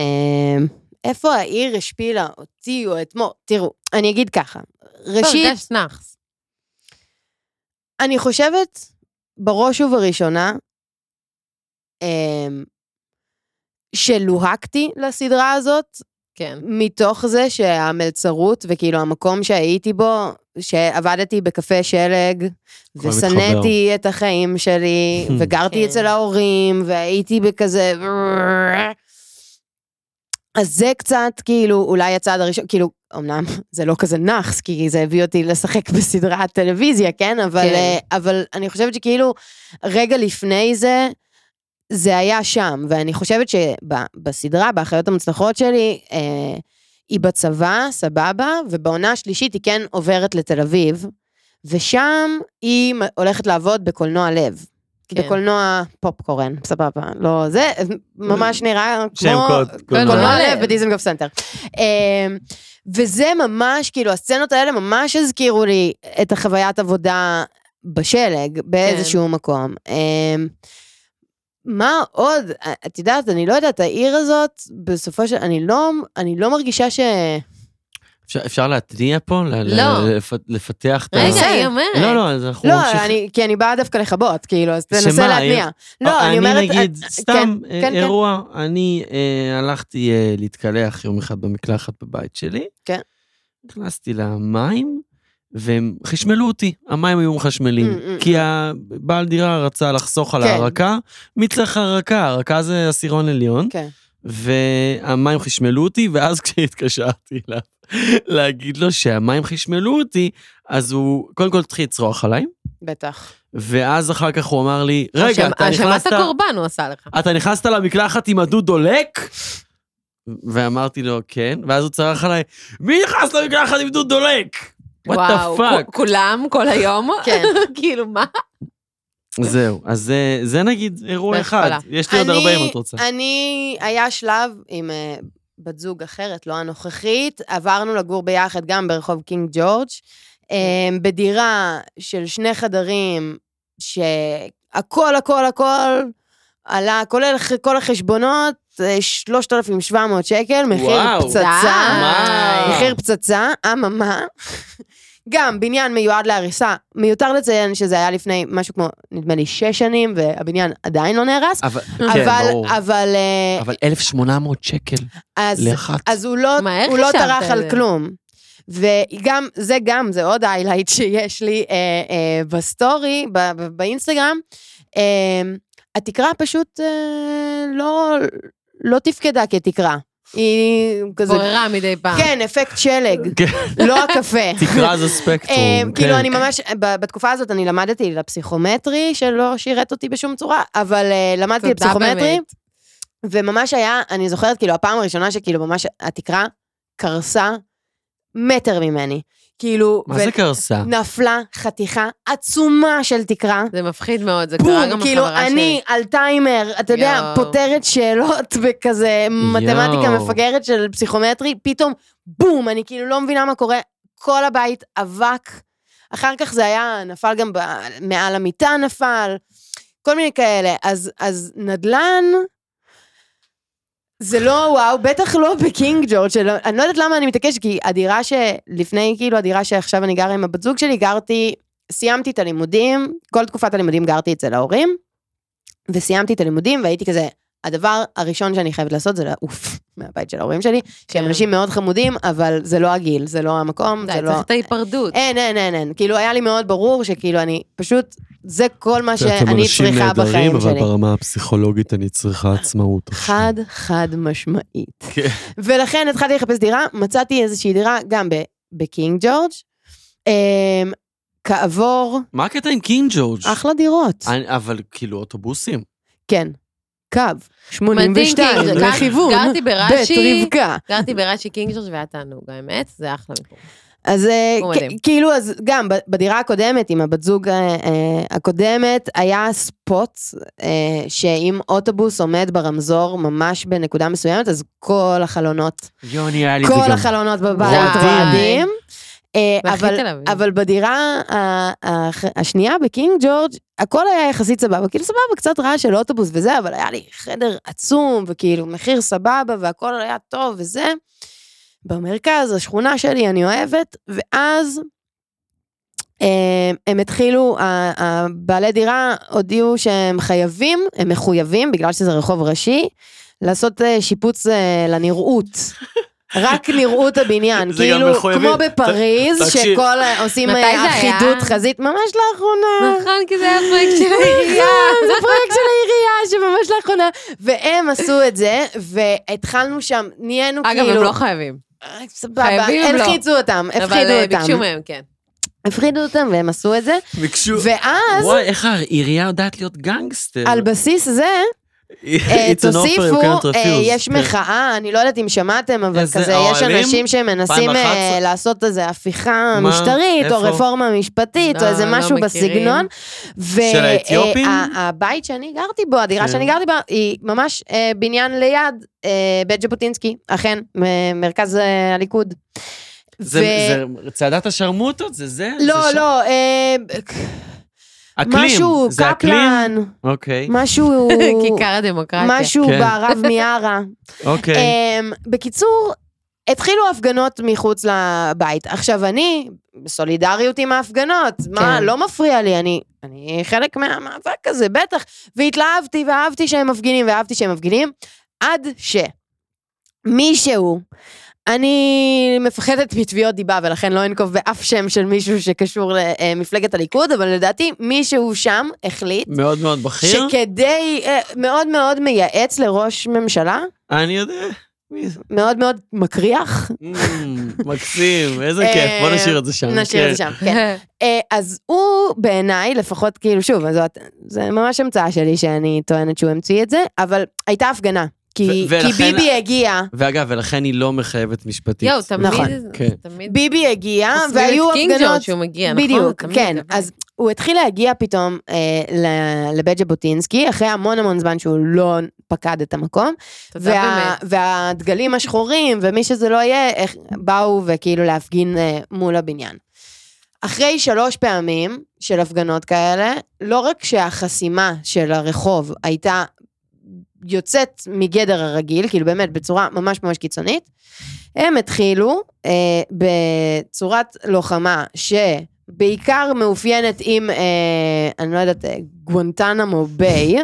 S2: איפה העיר השפילה אותי או את מו? תראו, אני אגיד ככה.
S1: טוב,
S2: ראשית,
S1: לא, הרגשת נאחס.
S2: אני חושבת, בראש ובראשונה, אמ, שלוהקתי לסדרה הזאת,
S1: כן.
S2: מתוך זה שהמלצרות, וכאילו המקום שהייתי בו, שעבדתי בקפה שלג,
S3: הכל
S2: ושנאתי את החיים שלי, וגרתי
S1: כן.
S2: אצל ההורים, והייתי בכזה... אז זה קצת, כאילו, אולי הצעד הראשון, כאילו, אמנם זה לא כזה נאחס, כי זה הביא אותי לשחק בסדרת טלוויזיה, כן? אבל,
S1: כן.
S2: כן. אבל אני חושבת שכאילו, רגע לפני זה, זה היה שם, ואני חושבת שבסדרה, באחיות המוצלחות שלי, אה, היא בצבא, סבבה, ובעונה השלישית היא כן עוברת לתל אביב, ושם היא מ- הולכת לעבוד בקולנוע לב.
S1: כן.
S2: בקולנוע פופקורן, סבבה, לא זה, ממש נראה כמו...
S3: שם קוד.
S2: קולנוע
S1: קולנוע
S2: לב
S3: כן.
S1: לב.
S2: בדיזנגוף סנטר. אמ, וזה ממש, כאילו, הסצנות האלה ממש הזכירו לי את החוויית עבודה בשלג, באיזשהו
S3: כן.
S2: מקום. אמ, מה עוד? את יודעת, אני לא יודעת, העיר הזאת, בסופו של... אני לא, אני לא מרגישה ש...
S3: אפשר- אפשר להתניע פה? ל- ל-
S1: לא.
S3: לפ- לפתח את ה...
S1: רגע,
S2: בסדר.
S1: היא אומרת.
S3: לא, לא, אז אנחנו
S2: לא,
S3: נמשיך.
S2: אני, כי אני באה דווקא לכבות, כאילו, אז
S3: שמה,
S2: תנסה להתניע.
S3: העיר-
S2: לא, אני אומרת...
S3: נגיד,
S2: אה,
S3: סתם
S2: כן, כן,
S3: אה,
S2: כן.
S3: אירוע, אני אה, הלכתי אה, להתקלח יום אחד במקלחת בבית שלי.
S2: כן.
S3: נכנסתי למים, והם חשמלו אותי, המים היו מחשמלים.
S2: Mm, mm,
S3: כי הבעל דירה רצה לחסוך על
S2: כן.
S3: ההרקה. מי צריך הרקה? הרקה זה עשירון עליון.
S2: כן.
S3: והמים חשמלו אותי, ואז כשהתקשרתי לה, להגיד לו שהמים חשמלו אותי, אז הוא קודם כל התחיל לצרוח עליי,
S2: בטח.
S3: ואז אחר כך הוא אמר לי, לא, רגע, אתה
S1: האשמת
S3: נכנסת...
S1: הקורבן הוא עשה לך.
S3: אתה נכנסת למקלחת עם הדוד דולק? ואמרתי לו, כן, ואז הוא צרח עליי, מי נכנס למקלחת עם דוד דולק? וואט דה
S1: וואו,
S3: פאק.
S1: כו- כולם, כל היום,
S2: כן.
S1: כאילו, מה?
S3: זהו, אז זה, זה נגיד אירוע אחד.
S1: בהתחלה.
S3: יש לי עוד
S2: אני-
S3: הרבה אם את רוצה.
S2: אני, היה שלב עם אה, בת זוג אחרת, לא הנוכחית, עברנו לגור ביחד גם ברחוב קינג ג'ורג',
S3: כן.
S2: אה, בדירה של שני חדרים, שהכל, הכל, הכל עלה, כולל ח- כל החשבונות, אה, 3,700 שקל, מחיר
S3: וואו.
S2: פצצה.
S3: מה?
S2: מחיר פצצה, אממה. גם בניין מיועד להריסה, מיותר לציין שזה היה לפני משהו כמו, נדמה לי, שש שנים, והבניין עדיין לא נהרס.
S3: אבל,
S2: אבל,
S3: כן, ברור.
S2: אבל, אה,
S3: אבל 1,800 שקל
S2: אז,
S3: לאחת.
S2: אז הוא לא,
S1: מה, איך
S2: הוא לא
S1: חשבת
S2: טרח
S1: על
S2: על
S1: זה?
S2: כלום. וגם, זה גם, זה עוד היילייט שיש לי אה, אה, בסטורי, ב, ב, באינסטגרם. אה, התקרה פשוט אה, לא, לא תפקדה כתקרה. היא כזה...
S1: בוררה מדי פעם.
S2: כן, אפקט שלג,
S3: כן.
S2: לא הקפה.
S3: תקרא זה
S2: אה,
S3: ספקטרום.
S2: כאילו,
S3: כן.
S2: אני ממש, ב- בתקופה הזאת אני למדתי לפסיכומטרי, שלא שירת אותי בשום צורה, אבל אה, למדתי
S1: תודה
S2: לפסיכומטרי,
S1: באמת.
S2: וממש היה, אני זוכרת, כאילו, הפעם הראשונה שכאילו ממש התקרה קרסה מטר ממני. כאילו,
S3: מה זה קרסה?
S2: נפלה חתיכה עצומה של תקרה.
S1: זה מפחיד מאוד, זה קרה גם
S2: בום, כאילו,
S1: לחברה שלי.
S2: אני על טיימר, אתה יודע,
S1: יואו.
S2: פותרת שאלות וכזה מתמטיקה
S3: יואו.
S2: מפגרת של פסיכומטרי, פתאום, בום, אני כאילו לא מבינה מה קורה, כל הבית אבק. אחר כך זה היה, נפל גם ב, מעל המיטה נפל, כל מיני כאלה. אז, אז נדל"ן, זה לא וואו, בטח לא בקינג ג'ורג', שלא, אני לא יודעת למה אני מתעקשת, כי הדירה שלפני, כאילו, הדירה שעכשיו אני גרה עם הבת זוג שלי, גרתי, סיימתי את הלימודים, כל תקופת הלימודים גרתי אצל ההורים, וסיימתי את הלימודים והייתי כזה, הדבר הראשון שאני חייבת לעשות זה לעוף מהבית של ההורים שלי, שהם
S1: כן.
S2: אנשים מאוד חמודים, אבל זה לא הגיל, זה לא המקום,
S1: די,
S2: זה לא...
S1: צריך את ההיפרדות.
S2: אין, אין, אין, אין. כאילו, היה לי מאוד ברור שכאילו אני, פשוט, זה כל מה שאני צריכה בחיים שלי.
S3: ברמה הפסיכולוגית אני צריכה עצמאות.
S2: חד חד משמעית. ולכן התחלתי לחפש דירה, מצאתי איזושהי דירה גם ב- בקינג ג'ורג'. אמ, כעבור,
S3: מה הקטע עם קינג ג'ורג'?
S2: אחלה דירות.
S3: אני- אבל כאילו אוטובוסים.
S2: כן. קו,
S1: מדהים,
S2: 82,
S1: כאילו, גר-
S2: לכיוון,
S1: גרתי
S2: בית
S1: ברש"י,
S2: רבקה.
S1: גרתי ברש"י קינג'ורג' והיה תענוג, האמת, זה אחלה מפה.
S2: אז אה,
S1: הוא
S2: כ-
S1: מדהים.
S2: כאילו, אז גם ב- בדירה הקודמת, עם הבת זוג אה, אה, הקודמת, היה ספוט אה, שאם אוטובוס עומד ברמזור ממש בנקודה מסוימת, אז כל החלונות,
S3: יואו, נראה לי
S2: כל החלונות בבית
S1: וואי.
S2: רועדים. אה,
S1: והכי
S2: אבל,
S1: תל אביב.
S2: אבל בדירה ה- ה- השנייה בקינג ג'ורג' הכל היה יחסית סבבה, כאילו סבבה, קצת רעש של אוטובוס וזה, אבל היה לי חדר עצום, וכאילו מחיר סבבה, והכל היה טוב וזה. במרכז, השכונה שלי, אני אוהבת, ואז אה, הם התחילו, ה- הבעלי דירה הודיעו שהם חייבים, הם מחויבים, בגלל שזה רחוב ראשי, לעשות אה, שיפוץ אה, לנראות. רק נראות הבניין,
S3: זה גם
S2: כאילו,
S3: מחויבים.
S2: כמו בפריז,
S3: תקשיב.
S2: שכל אה, עושים
S1: מתי
S2: אה,
S1: זה היה?
S2: אחידות חזית, ממש לאחרונה.
S1: נכון, כי זה היה פרויקט של העירייה.
S2: זה פרויקט של העירייה שממש לאחרונה, והם עשו את זה, והתחלנו שם, נהיינו כאילו...
S1: אגב, הם לא חייבים.
S2: אה, סבבה,
S1: חייבים הם לא.
S2: הלחיצו אותם,
S1: אבל
S2: הפחידו
S1: אה, ביקשו
S2: אותם.
S1: מהם, כן.
S2: הפחידו אותם והם עשו את זה,
S3: ביקשו...
S2: ואז
S3: כאילו, וואי, איך העירייה יודעת להיות גנגסטר.
S2: על בסיס זה, אה,
S3: It's an offer you
S2: תוסיפו,
S3: can't
S2: אה,
S3: refuse.
S2: יש
S3: כן.
S2: מחאה, אני לא יודעת אם שמעתם, אבל
S3: איזה
S2: כזה, יש
S3: אוהלים?
S2: אנשים שמנסים אה,
S3: 2011?
S2: לעשות איזה הפיכה
S3: מה?
S2: משטרית, או
S3: איפה?
S2: רפורמה משפטית, או
S1: לא,
S2: איזה
S1: לא
S2: משהו
S1: מכירים.
S2: בסגנון. ו-
S3: של האתיופים?
S2: אה, ה- הבית שאני גרתי בו, הדירה
S3: כן.
S2: שאני גרתי בה, היא ממש אה, בניין ליד אה, בית ז'בוטינסקי, אכן, מ- מרכז אה, הליכוד.
S3: זה
S2: ו-
S3: זה- צעדת השרמוטות? זה זה?
S2: לא,
S3: זה ש-
S2: לא, אה,
S3: אקלים.
S2: משהו,
S3: זה אקלים?
S2: קפלן,
S3: אוקיי,
S2: משהו,
S1: כיכר הדמוקרטיה.
S2: משהו
S3: כן.
S2: בערב מיארה.
S3: אוקיי.
S2: אמ, בקיצור, התחילו הפגנות מחוץ לבית. עכשיו, אני, בסולידריות עם ההפגנות, מה,
S1: כן.
S2: לא מפריע לי, אני, אני חלק מהמאבק הזה, בטח. והתלהבתי, ואהבתי שהם מפגינים, ואהבתי שהם מפגינים, עד ש... מישהו אני מפחדת מתביעות דיבה, ולכן לא אנקוב באף שם של מישהו שקשור למפלגת הליכוד, אבל לדעתי מישהו שם החליט
S3: מאוד מאוד בכיר.
S2: שכדי, אה, מאוד מאוד מייעץ לראש ממשלה,
S3: אני יודע. מי זה?
S2: מאוד מאוד מקריח.
S3: אמ, מקסים, איזה כיף, בוא נשאיר את זה שם.
S2: אה, נשאיר את זה שם, כן. אה, אז הוא בעיניי, לפחות כאילו, שוב, אז זאת, זה ממש המצאה שלי שאני טוענת שהוא המציא את זה, אבל הייתה הפגנה. כי,
S3: ו-
S2: כי
S3: ולכן-
S2: ביבי הגיע,
S3: ואגב, ולכן היא לא מחייבת משפטית.
S1: יואו,
S2: נכון,
S1: תמיד,
S3: כן.
S1: תמיד,
S2: ביבי הגיע,
S1: עושים את
S2: והיו
S1: קינג ג'ורג'
S2: הפגנות...
S1: שהוא מגיע, נכון?
S2: בדיוק,
S1: תמיד,
S2: כן.
S1: תמיד.
S2: אז הוא התחיל להגיע פתאום אה, ל- לבית ז'בוטינסקי, אחרי המון המון זמן שהוא לא פקד את המקום,
S1: תודה
S2: וה,
S1: באמת.
S2: והדגלים השחורים, ומי שזה לא יהיה, איך, באו וכאילו להפגין אה, מול הבניין. אחרי שלוש פעמים של הפגנות כאלה, לא רק שהחסימה של הרחוב הייתה יוצאת מגדר הרגיל, כאילו באמת בצורה ממש ממש קיצונית, הם התחילו אה, בצורת לוחמה שבעיקר מאופיינת עם, אה, אני לא יודעת, אה, גואנטנמו ביי,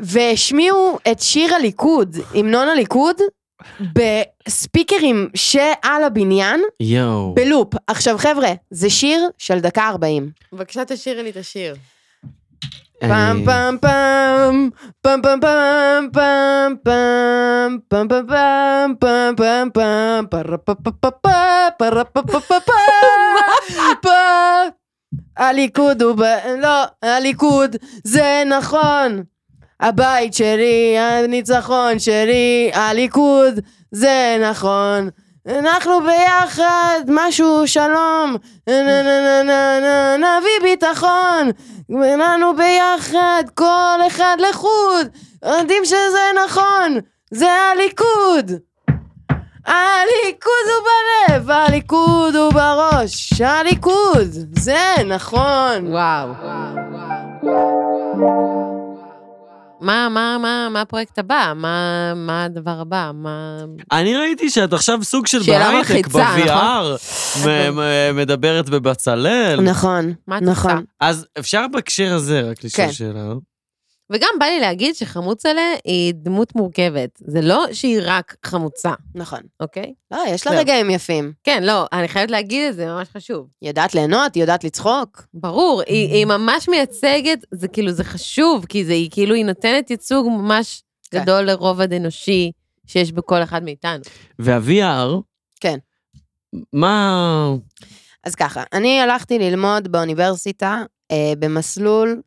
S2: והשמיעו את שיר הליכוד, המנון הליכוד, בספיקרים שעל הבניין,
S3: יואו.
S2: בלופ. עכשיו חבר'ה, זה שיר של דקה 40.
S1: בבקשה תשאירי לי את השיר.
S3: אה,
S2: פעם פעם פעם, פעם פעם פעם פעם פעם, פעם פעם פעם פעם פעם פעם, פרה פה פה פה פה, פרה פה פה פה פה, פה. הליכוד הוא ב... לא, הליכוד זה נכון. הבית שלי, הניצחון שלי, הליכוד זה נכון. אנחנו ביחד, משהו שלום, נה נה נה נה נה נביא ביטחון, כולנו ביחד, כל אחד לחוד, יודעים שזה נכון, זה הליכוד. הליכוד הוא בלב, הליכוד הוא בראש, הליכוד, זה נכון.
S1: וואו. מה, מה, מה, מה הפרויקט הבא? מה, מה הדבר הבא? מה...
S3: אני ראיתי שאת עכשיו סוג של
S1: שאלה
S3: בהייטק,
S1: מלחיצה,
S3: ב-VR, מ- מ- מדברת בבצלאל.
S2: נכון,
S1: מה את עושה?
S2: נכון.
S3: אז אפשר בהקשר הזה רק לשאול
S2: כן.
S3: שאלה.
S1: וגם בא לי להגיד שחמוצלה היא דמות מורכבת. זה לא שהיא רק חמוצה,
S2: נכון.
S1: אוקיי?
S2: לא, יש לה
S1: זהו.
S2: רגעים יפים.
S1: כן, לא, אני חייבת להגיד את זה, ממש חשוב.
S2: היא יודעת ליהנות, היא יודעת לצחוק.
S1: ברור, היא, היא ממש מייצגת, זה כאילו, זה חשוב, כי זה, היא כאילו, היא נותנת ייצוג ממש
S2: כן.
S1: גדול לרובד אנושי שיש בכל אחד מאיתנו.
S3: וה-VR...
S2: כן.
S3: מה...
S2: אז ככה, אני הלכתי ללמוד באוניברסיטה, אה, במסלול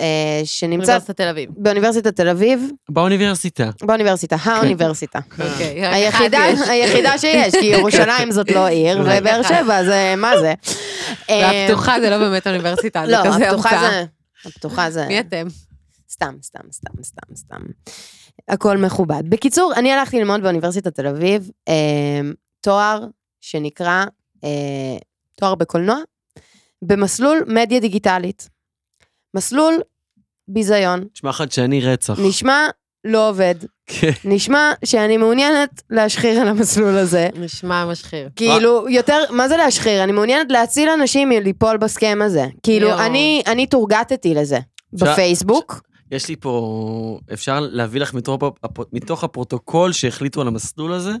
S2: אה, שנמצא
S1: אוניברסיטת תל אביב.
S2: באוניברסיטת תל אביב,
S3: באוניברסיטה.
S2: באוניברסיטה,
S1: כן.
S2: האוניברסיטה.
S1: אוקיי, רק אחד
S2: היחידה,
S1: יש.
S2: היחידה שיש, כי ירושלים זאת לא עיר,
S3: רק
S2: ובאר
S1: אחת.
S2: שבע זה מה זה. אה,
S1: והפתוחה זה לא באמת אוניברסיטה, זה
S2: לא,
S1: כזה
S2: הפתוחה
S1: המצאה.
S2: זה... הפתוחה זה...
S1: מי אתם?
S2: סתם, סתם, סתם, סתם, סתם. הכל מכובד. בקיצור, אני הלכתי ללמוד באוניברסיטת תל אביב אה, תואר שנקרא אה, תואר בקולנוע, במסלול מדיה דיגיטלית. מסלול ביזיון.
S3: נשמע חדשני רצח.
S2: נשמע לא עובד.
S3: כן.
S2: נשמע שאני מעוניינת להשחיר על המסלול הזה.
S1: נשמע משחיר.
S2: כאילו, יותר, מה זה להשחיר? אני מעוניינת להציל אנשים מליפול בסכם הזה. כאילו,
S1: יואו.
S2: אני, אני תורגטתי לזה בפייסבוק.
S3: יש לי פה, אפשר להביא לך מתוך, הפ- מתוך הפרוטוקול שהחליטו על המסלול הזה.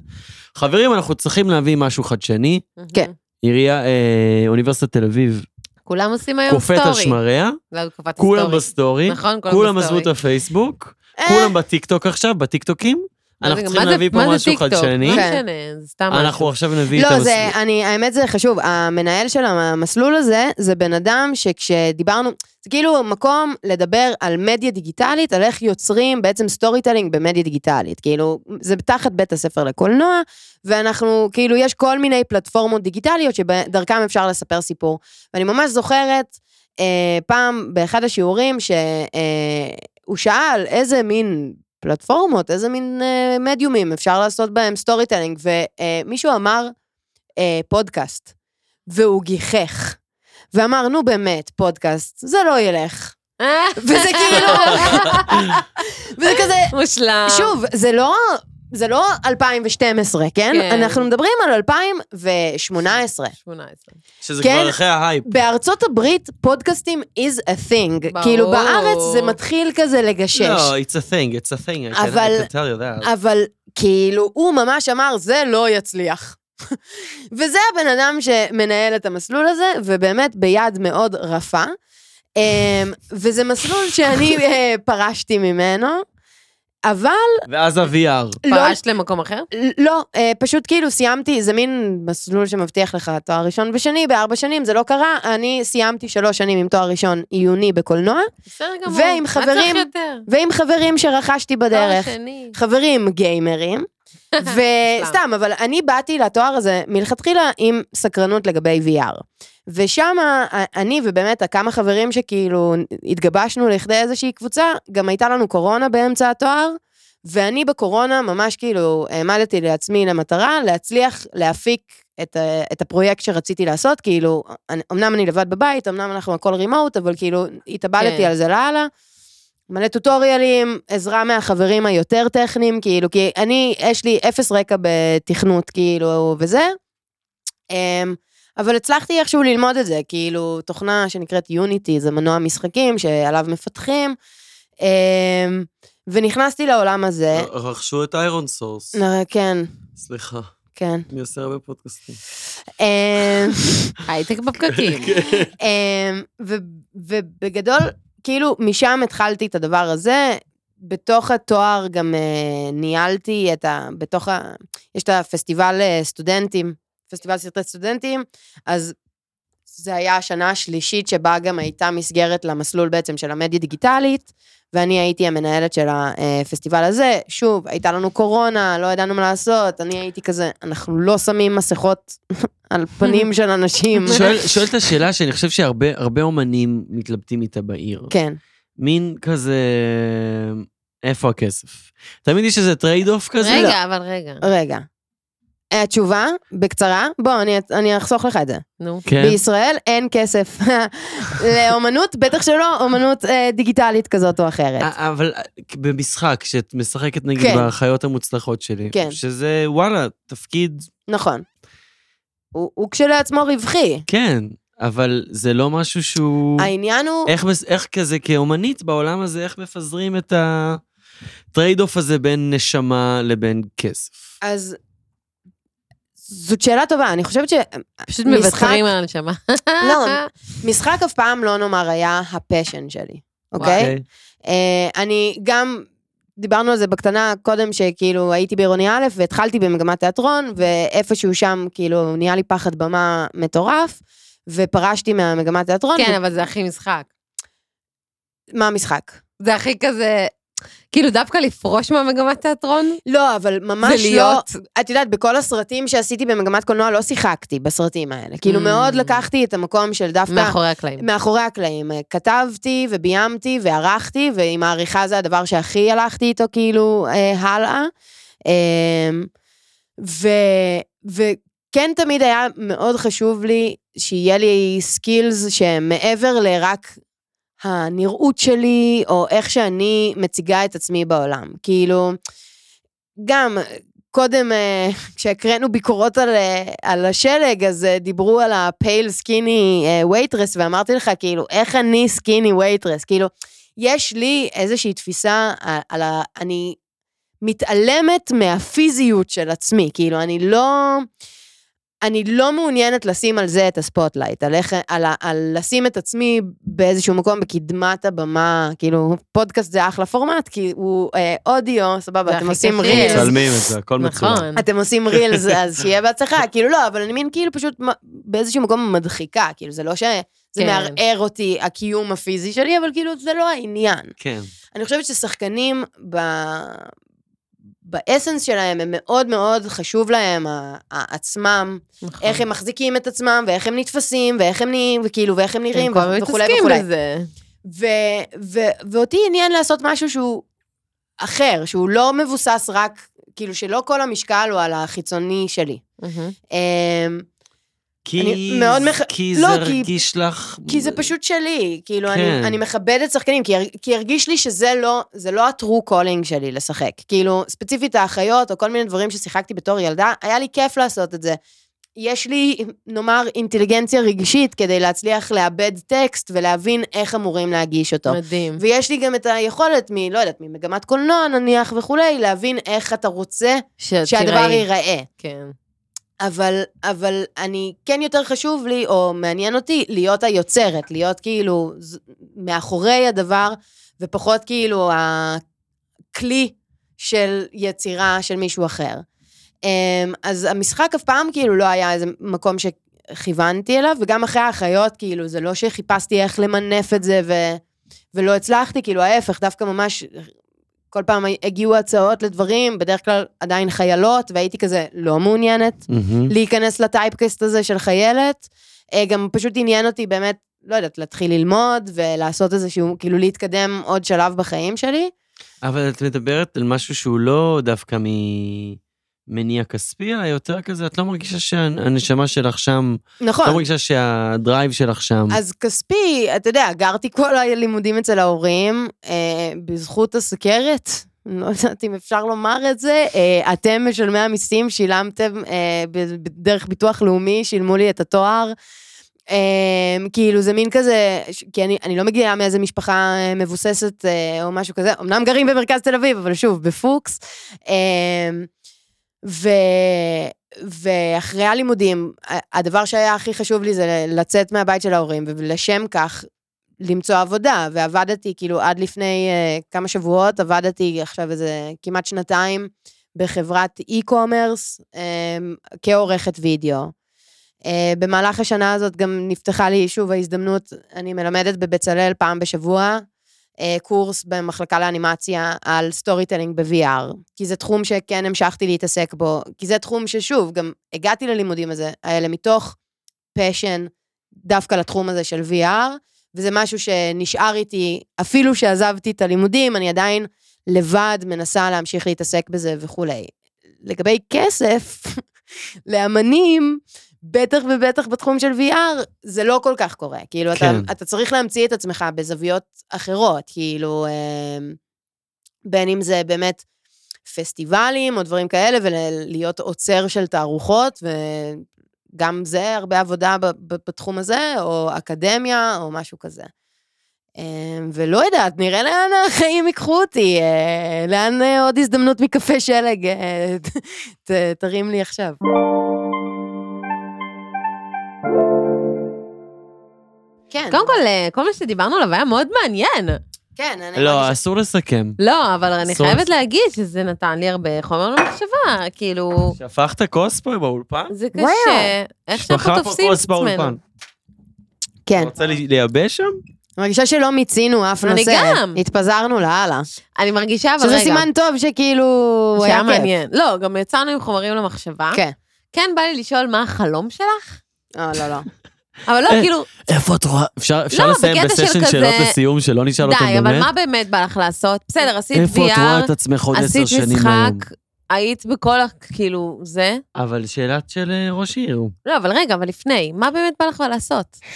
S3: חברים, אנחנו צריכים להביא משהו חדשני.
S2: כן.
S3: עירייה, אה, אוניברסיטת תל אביב,
S1: כולם עושים היום
S3: קופאת
S1: סטורי.
S3: על שמריה,
S1: לא, קופת
S3: כולם
S1: הסטורי.
S3: בסטורי,
S1: נכון, כולם
S3: כולם
S1: בסטורי.
S3: עזבו את הפייסבוק,
S2: אה,
S3: כולם בטיקטוק עכשיו, בטיקטוקים.
S1: מה זה-
S3: אנחנו
S1: לא,
S3: צריכים
S1: מה זה-
S3: להביא פה
S1: מה זה
S3: משהו
S1: טיקטוק?
S3: חדשני.
S1: לא
S2: כן.
S1: משנה, זה סתם
S3: אנחנו
S1: משהו.
S3: עכשיו נביא את
S2: לא,
S3: המסלול.
S2: זה, אני, האמת זה חשוב, המנהל של המסלול הזה, זה בן אדם שכשדיברנו, זה כאילו מקום לדבר על מדיה דיגיטלית, על איך יוצרים בעצם סטורי טלינג במדיה דיגיטלית. כאילו, זה תחת בית הספר לקולנוע, ואנחנו, כאילו, יש כל מיני פלטפורמות דיגיטליות שדרכם אפשר לספר סיפור. ואני ממש זוכרת אה, פעם באחד השיעורים שהוא אה, שאל איזה מין פלטפורמות, איזה מין אה, מדיומים אפשר לעשות בהם סטורי טלינג, ומישהו אמר אה, פודקאסט, והוא גיחך. ואמר, נו באמת, פודקאסט, זה לא ילך.
S1: אה,
S2: וזה כאילו, וזה כזה,
S1: מושלם.
S2: שוב, זה לא, זה לא 2012, כן?
S1: כן.
S2: אנחנו מדברים על 2018.
S1: 18.
S3: שזה
S2: כן.
S3: כבר אחרי ההייפ.
S2: בארצות הברית פודקאסטים is a thing.
S1: ברור.
S2: כאילו בארץ זה מתחיל כזה לגשש.
S3: לא, it's a לא, thing, it's a thing. I can- I
S2: אבל-
S3: can tell you that.
S2: אבל כאילו, הוא ממש אמר, זה לא יצליח. וזה הבן אדם שמנהל את המסלול הזה, ובאמת ביד מאוד רפה. אמ, וזה מסלול שאני אה, פרשתי ממנו, אבל
S3: ואז ה-VR.
S2: לא,
S1: פרשת למקום אחר?
S2: לא, אה, פשוט כאילו סיימתי, זה מין מסלול שמבטיח לך תואר ראשון ושני, בארבע שנים, זה לא קרה, אני סיימתי שלוש שנים עם תואר ראשון עיוני בקולנוע,
S1: בסדר גמור.
S2: ועם
S1: מה
S2: חברים
S1: צריך יותר? לא,
S2: ועם חברים שרכשתי בדרך.
S1: תואר שני.
S2: חברים גיימרים. וסתם, אבל אני באתי לתואר הזה מלכתחילה עם סקרנות לגבי VR. ושם אני ובאמת הכמה חברים שכאילו התגבשנו לכדי איזושהי קבוצה, גם הייתה לנו קורונה באמצע התואר, ואני בקורונה ממש כאילו העמדתי לעצמי למטרה להצליח להפיק את, ה- את הפרויקט שרציתי לעשות, כאילו, אני- אמנם אני לבד בבית, אמנם אנחנו הכל רימוט, אבל כאילו התאבדתי
S1: כן.
S2: על זה לאללה. מלא טוטוריאלים, עזרה מהחברים היותר טכניים, כאילו, כי אני, יש לי אפס רקע בתכנות, כאילו, וזה. אמ, אבל הצלחתי איכשהו ללמוד את זה, כאילו, תוכנה שנקראת יוניטי, זה מנוע משחקים שעליו מפתחים, אמ, ונכנסתי לעולם הזה.
S3: אה, רכשו את איירון סורס.
S2: נ- כן,
S3: סליחה,
S2: כן.
S3: אני עושה הרבה פודקאסטים.
S2: אמ,
S1: הייטק בפקקים.
S3: כן,
S2: אמ, ו- ובגדול, כאילו, משם התחלתי את הדבר הזה. בתוך התואר גם אה, ניהלתי את ה... בתוך ה... יש את הפסטיבל אה, סטודנטים, פסטיבל סרטי סטודנטים, אז זה היה השנה השלישית שבה גם הייתה מסגרת למסלול בעצם של המדיה דיגיטלית, ואני הייתי המנהלת של הפסטיבל הזה. שוב, הייתה לנו קורונה, לא ידענו מה לעשות, אני הייתי כזה, אנחנו לא שמים מסכות על פנים של אנשים.
S3: שואל, שואל את השאלה שאני חושב שהרבה הרבה אומנים מתלבטים איתה בעיר.
S2: כן.
S3: מין כזה... איפה הכסף? תמיד יש איזה טרייד אוף כזה? לא.
S1: רגע, אבל רגע.
S2: רגע. התשובה, בקצרה, בוא, אני, אני אחסוך לך את זה.
S1: נו.
S3: כן.
S2: בישראל אין כסף. לאומנות, בטח שלא, אומנות אה, דיגיטלית כזאת או אחרת.
S3: א- אבל אה, במשחק, כשאת משחקת נגיד
S2: כן.
S3: בחיות המוצלחות שלי,
S2: כן.
S3: שזה וואלה, תפקיד,
S2: נכון. הוא, הוא כשלעצמו רווחי.
S3: כן, אבל זה לא משהו שהוא...
S2: העניין הוא...
S3: איך, מס- איך כזה כאומנית בעולם הזה, איך מפזרים את הטרייד אוף הזה בין נשמה לבין כסף?
S2: אז... זאת שאלה טובה, אני חושבת ש...
S1: פשוט
S2: משחק-
S1: מוותרים על הנשמה.
S2: לא, משחק אף פעם לא נאמר היה הפשן שלי, אוקיי?
S3: אוקיי?
S2: אה, אני גם, דיברנו על זה בקטנה קודם, שכאילו הייתי בעירוני א' והתחלתי במגמת תיאטרון, ואיפשהו שם כאילו נהיה לי פחד במה מטורף, ופרשתי מהמגמת תיאטרון.
S1: כן, אבל זה הכי משחק.
S2: מה המשחק?
S1: זה הכי כזה... כאילו, דווקא לפרוש מהמגמת תיאטרון,
S2: לא, אבל ממש
S1: זה
S2: לא...
S1: להיות...
S2: את יודעת, בכל הסרטים שעשיתי במגמת קולנוע לא שיחקתי בסרטים האלה. כאילו
S1: Mm.
S2: מאוד לקחתי את המקום של דווקא...
S1: מאחורי הקלעים.
S2: מאחורי הקלעים. כתבתי וביימתי וערכתי, ועם העריכה זה הדבר שהכי הלכתי איתו כאילו אה, הלאה. אה, ו, וכן תמיד היה מאוד חשוב לי שיהיה לי סקילס שהם מעבר לרק הנראות שלי, או איך שאני מציגה את עצמי בעולם. כאילו, גם קודם, אה, כשהקראנו ביקורות על, אה, על השלג, אז אה, דיברו על הפייל סקיני וייטרס, ואמרתי לך, כאילו, איך אני סקיני וייטרס? כאילו, יש לי איזושהי תפיסה על, על ה... אני מתעלמת מהפיזיות של עצמי, כאילו, אני לא... אני לא מעוניינת לשים על זה את הספוטלייט, על, איך, על, ה- על לשים את עצמי באיזשהו מקום בקדמת הבמה, כאילו, פודקאסט זה אחלה פורמט, כי הוא אה, אודיו, סבבה,
S1: זה
S2: אתם
S1: הכי
S2: עושים
S1: כיפי.
S2: רילס.
S3: מצלמים את זה, הכל מצולם.
S1: נכון.
S2: אתם עושים רילס, אז שיהיה בהצלחה. כאילו לא, אבל אני מין כאילו פשוט מ- באיזשהו מקום מדחיקה, כאילו זה לא ש... זה
S1: כן.
S2: מערער אותי, הקיום הפיזי שלי, אבל כאילו זה לא העניין.
S3: כן.
S2: אני חושבת ששחקנים ב... באסנס שלהם, הם מאוד מאוד חשוב להם ה- ה- עצמם,
S1: נכון.
S2: איך הם מחזיקים את עצמם, ואיך הם נתפסים, ואיך הם נהיים, וכאילו, ואיך הם נראים,
S1: הם כבר
S2: וכולי וכולי.
S1: מתעסקים בזה.
S2: ו- ו- ואותי עניין לעשות משהו שהוא אחר, שהוא לא מבוסס רק, כאילו שלא כל המשקל הוא על החיצוני שלי.
S1: מהמם.
S2: אמ,
S3: כי,
S2: מאוד
S3: זה-
S2: מח-
S3: כי
S2: לא,
S3: זה
S2: כי-
S3: הרגיש לך...
S2: כי זה פשוט שלי, כאילו, כן.
S3: כן.
S2: אני, אני מכבדת שחקנים, כי, הר- כי הרגיש לי שזה לא, זה לא ה-true calling שלי לשחק. כאילו, ספציפית האחיות, או כל מיני דברים ששיחקתי בתור ילדה, היה לי כיף לעשות את זה. יש לי, נאמר, אינטליגנציה רגשית כדי להצליח לעבד טקסט ולהבין איך אמורים להגיש אותו.
S1: מדהים.
S2: ויש לי גם את היכולת מ... לא יודעת, ממגמת קולנוע נניח וכולי, להבין איך אתה רוצה
S1: שאת
S2: שהדבר
S1: תיראי.
S2: ייראה.
S1: כן.
S2: אבל, אבל אני, כן יותר חשוב לי, או מעניין אותי, להיות היוצרת, להיות כאילו ז- מאחורי הדבר, ופחות כאילו הכלי של יצירה של מישהו אחר. אמ, אז המשחק אף פעם כאילו לא היה איזה מקום שכיוונתי אליו, וגם אחרי האחיות, כאילו, זה לא שחיפשתי איך למנף את זה ו, ולא הצלחתי, כאילו ההפך, דווקא ממש, כל פעם הגיעו הצעות לדברים, בדרך כלל עדיין חיילות, והייתי כזה לא מעוניינת. להיכנס לטייפקסט הזה של חיילת. אה, גם פשוט עניין אותי באמת, לא יודעת, להתחיל ללמוד ולעשות איזשהו, כאילו להתקדם עוד שלב בחיים שלי.
S3: אבל את מדברת על משהו שהוא לא דווקא ממניע כספי, אלא יותר כזה, את לא מרגישה שהנשמה שלך שם,
S2: נכון.
S3: לא מרגישה שהדרייב שלך שם.
S2: אז כספי, אתה יודע, גרתי כל הלימודים אצל ההורים, אה, בזכות הסוכרת, לא יודעת אם אפשר לומר את זה, אה, אתם משלמי המיסים שילמתם אה, ב- ב- דרך ביטוח לאומי, שילמו לי את התואר. אה, כאילו זה מין כזה, ש- כי אני, אני לא מגיעה מאיזה משפחה אה, מבוססת אה, או משהו כזה, אמנם גרים במרכז תל אביב, אבל שוב, בפוקס. אה, ו... ואחרי הלימודים, ה- הדבר שהיה הכי חשוב לי זה לצאת מהבית של ההורים, ולשם כך למצוא עבודה, ועבדתי כאילו עד לפני אה, כמה שבועות, עבדתי עכשיו איזה כמעט שנתיים בחברת e-commerce אה, כעורכת וידאו. אה, במהלך השנה הזאת גם נפתחה לי שוב ההזדמנות, אני מלמדת בבצלאל פעם בשבוע. אה, קורס במחלקה לאנימציה על סטורי טלינג ב-VR, כי זה תחום שכן המשכתי להתעסק בו, כי זה תחום ששוב, גם הגעתי ללימודים הזה, האלה מתוך פשן דווקא לתחום הזה של VR, וזה משהו שנשאר איתי, אפילו שעזבתי את הלימודים, אני עדיין לבד מנסה להמשיך להתעסק בזה וכולי. לגבי כסף, לאמנים, בטח ובטח בתחום של VR, זה לא כל כך קורה. כאילו, כן.
S3: כן.
S2: אתה, אתה צריך להמציא את עצמך בזוויות אחרות, כאילו, אמ, בין אם זה באמת פסטיבלים או דברים כאלה, ולהיות עוצר של תערוכות, וגם זה הרבה עבודה ב- ב- בתחום הזה, או אקדמיה, או משהו כזה. אמ, ולא יודעת, נראה לאן החיים ייקחו אותי, אה, לאן אה, עוד הזדמנות מקפה שלג אה, ת- ת- תרים לי עכשיו. כן,
S1: קודם כל, אה, כל מה שדיברנו עליו היה מאוד מעניין.
S2: כן, אני מרגישה-
S3: לא, אסור לסכם.
S1: לא, אבל אני
S3: סוף.
S1: חייבת להגיד שזה נתן לי הרבה חומר למחשבה, כאילו,
S3: שפכת כוס פה באולפן?
S1: זה
S2: וואו.
S1: קשה. איך שאנחנו
S3: שפכה פה
S1: תופסים את
S3: כוס
S1: עצמנו.
S3: באולפן.
S2: כן.
S3: את רוצה לי- לייבש שם?
S2: אני מרגישה שלא מיצינו אף
S1: אני
S2: נושא.
S1: גם.
S2: התפזרנו לאללה.
S1: אני מרגישה, אבל רגע.
S2: שזה סימן טוב שכאילו... היה
S1: שהיה
S2: כיף.
S1: מעניין. לא, גם יצאנו עם חומרים למחשבה.
S2: כן.
S1: כן, בא לי לשאול מה החלום שלך,
S2: אה, לא, לא.
S1: אבל לא,
S3: אה,
S1: כאילו,
S3: איפה את רואה? אפשר אפשר
S1: לא,
S3: לסיים
S1: בקטע של
S3: בסשן
S1: כזה-
S3: שאלות לסיום, שלא נשאל אותם
S1: די,
S3: באמת?
S1: אבל מה באמת בא לך לעשות? בסדר, עשית
S3: איפה את רואה את
S1: VR,
S3: עצמך עוד עשר
S1: עשית
S3: שנים היום?
S1: משחק, היית בכל, ה- כאילו, זה.
S3: אבל שאלת של אה, ראש עיר.
S1: לא, אבל רגע, אבל לפני, מה באמת בא לך לעשות?
S2: כן.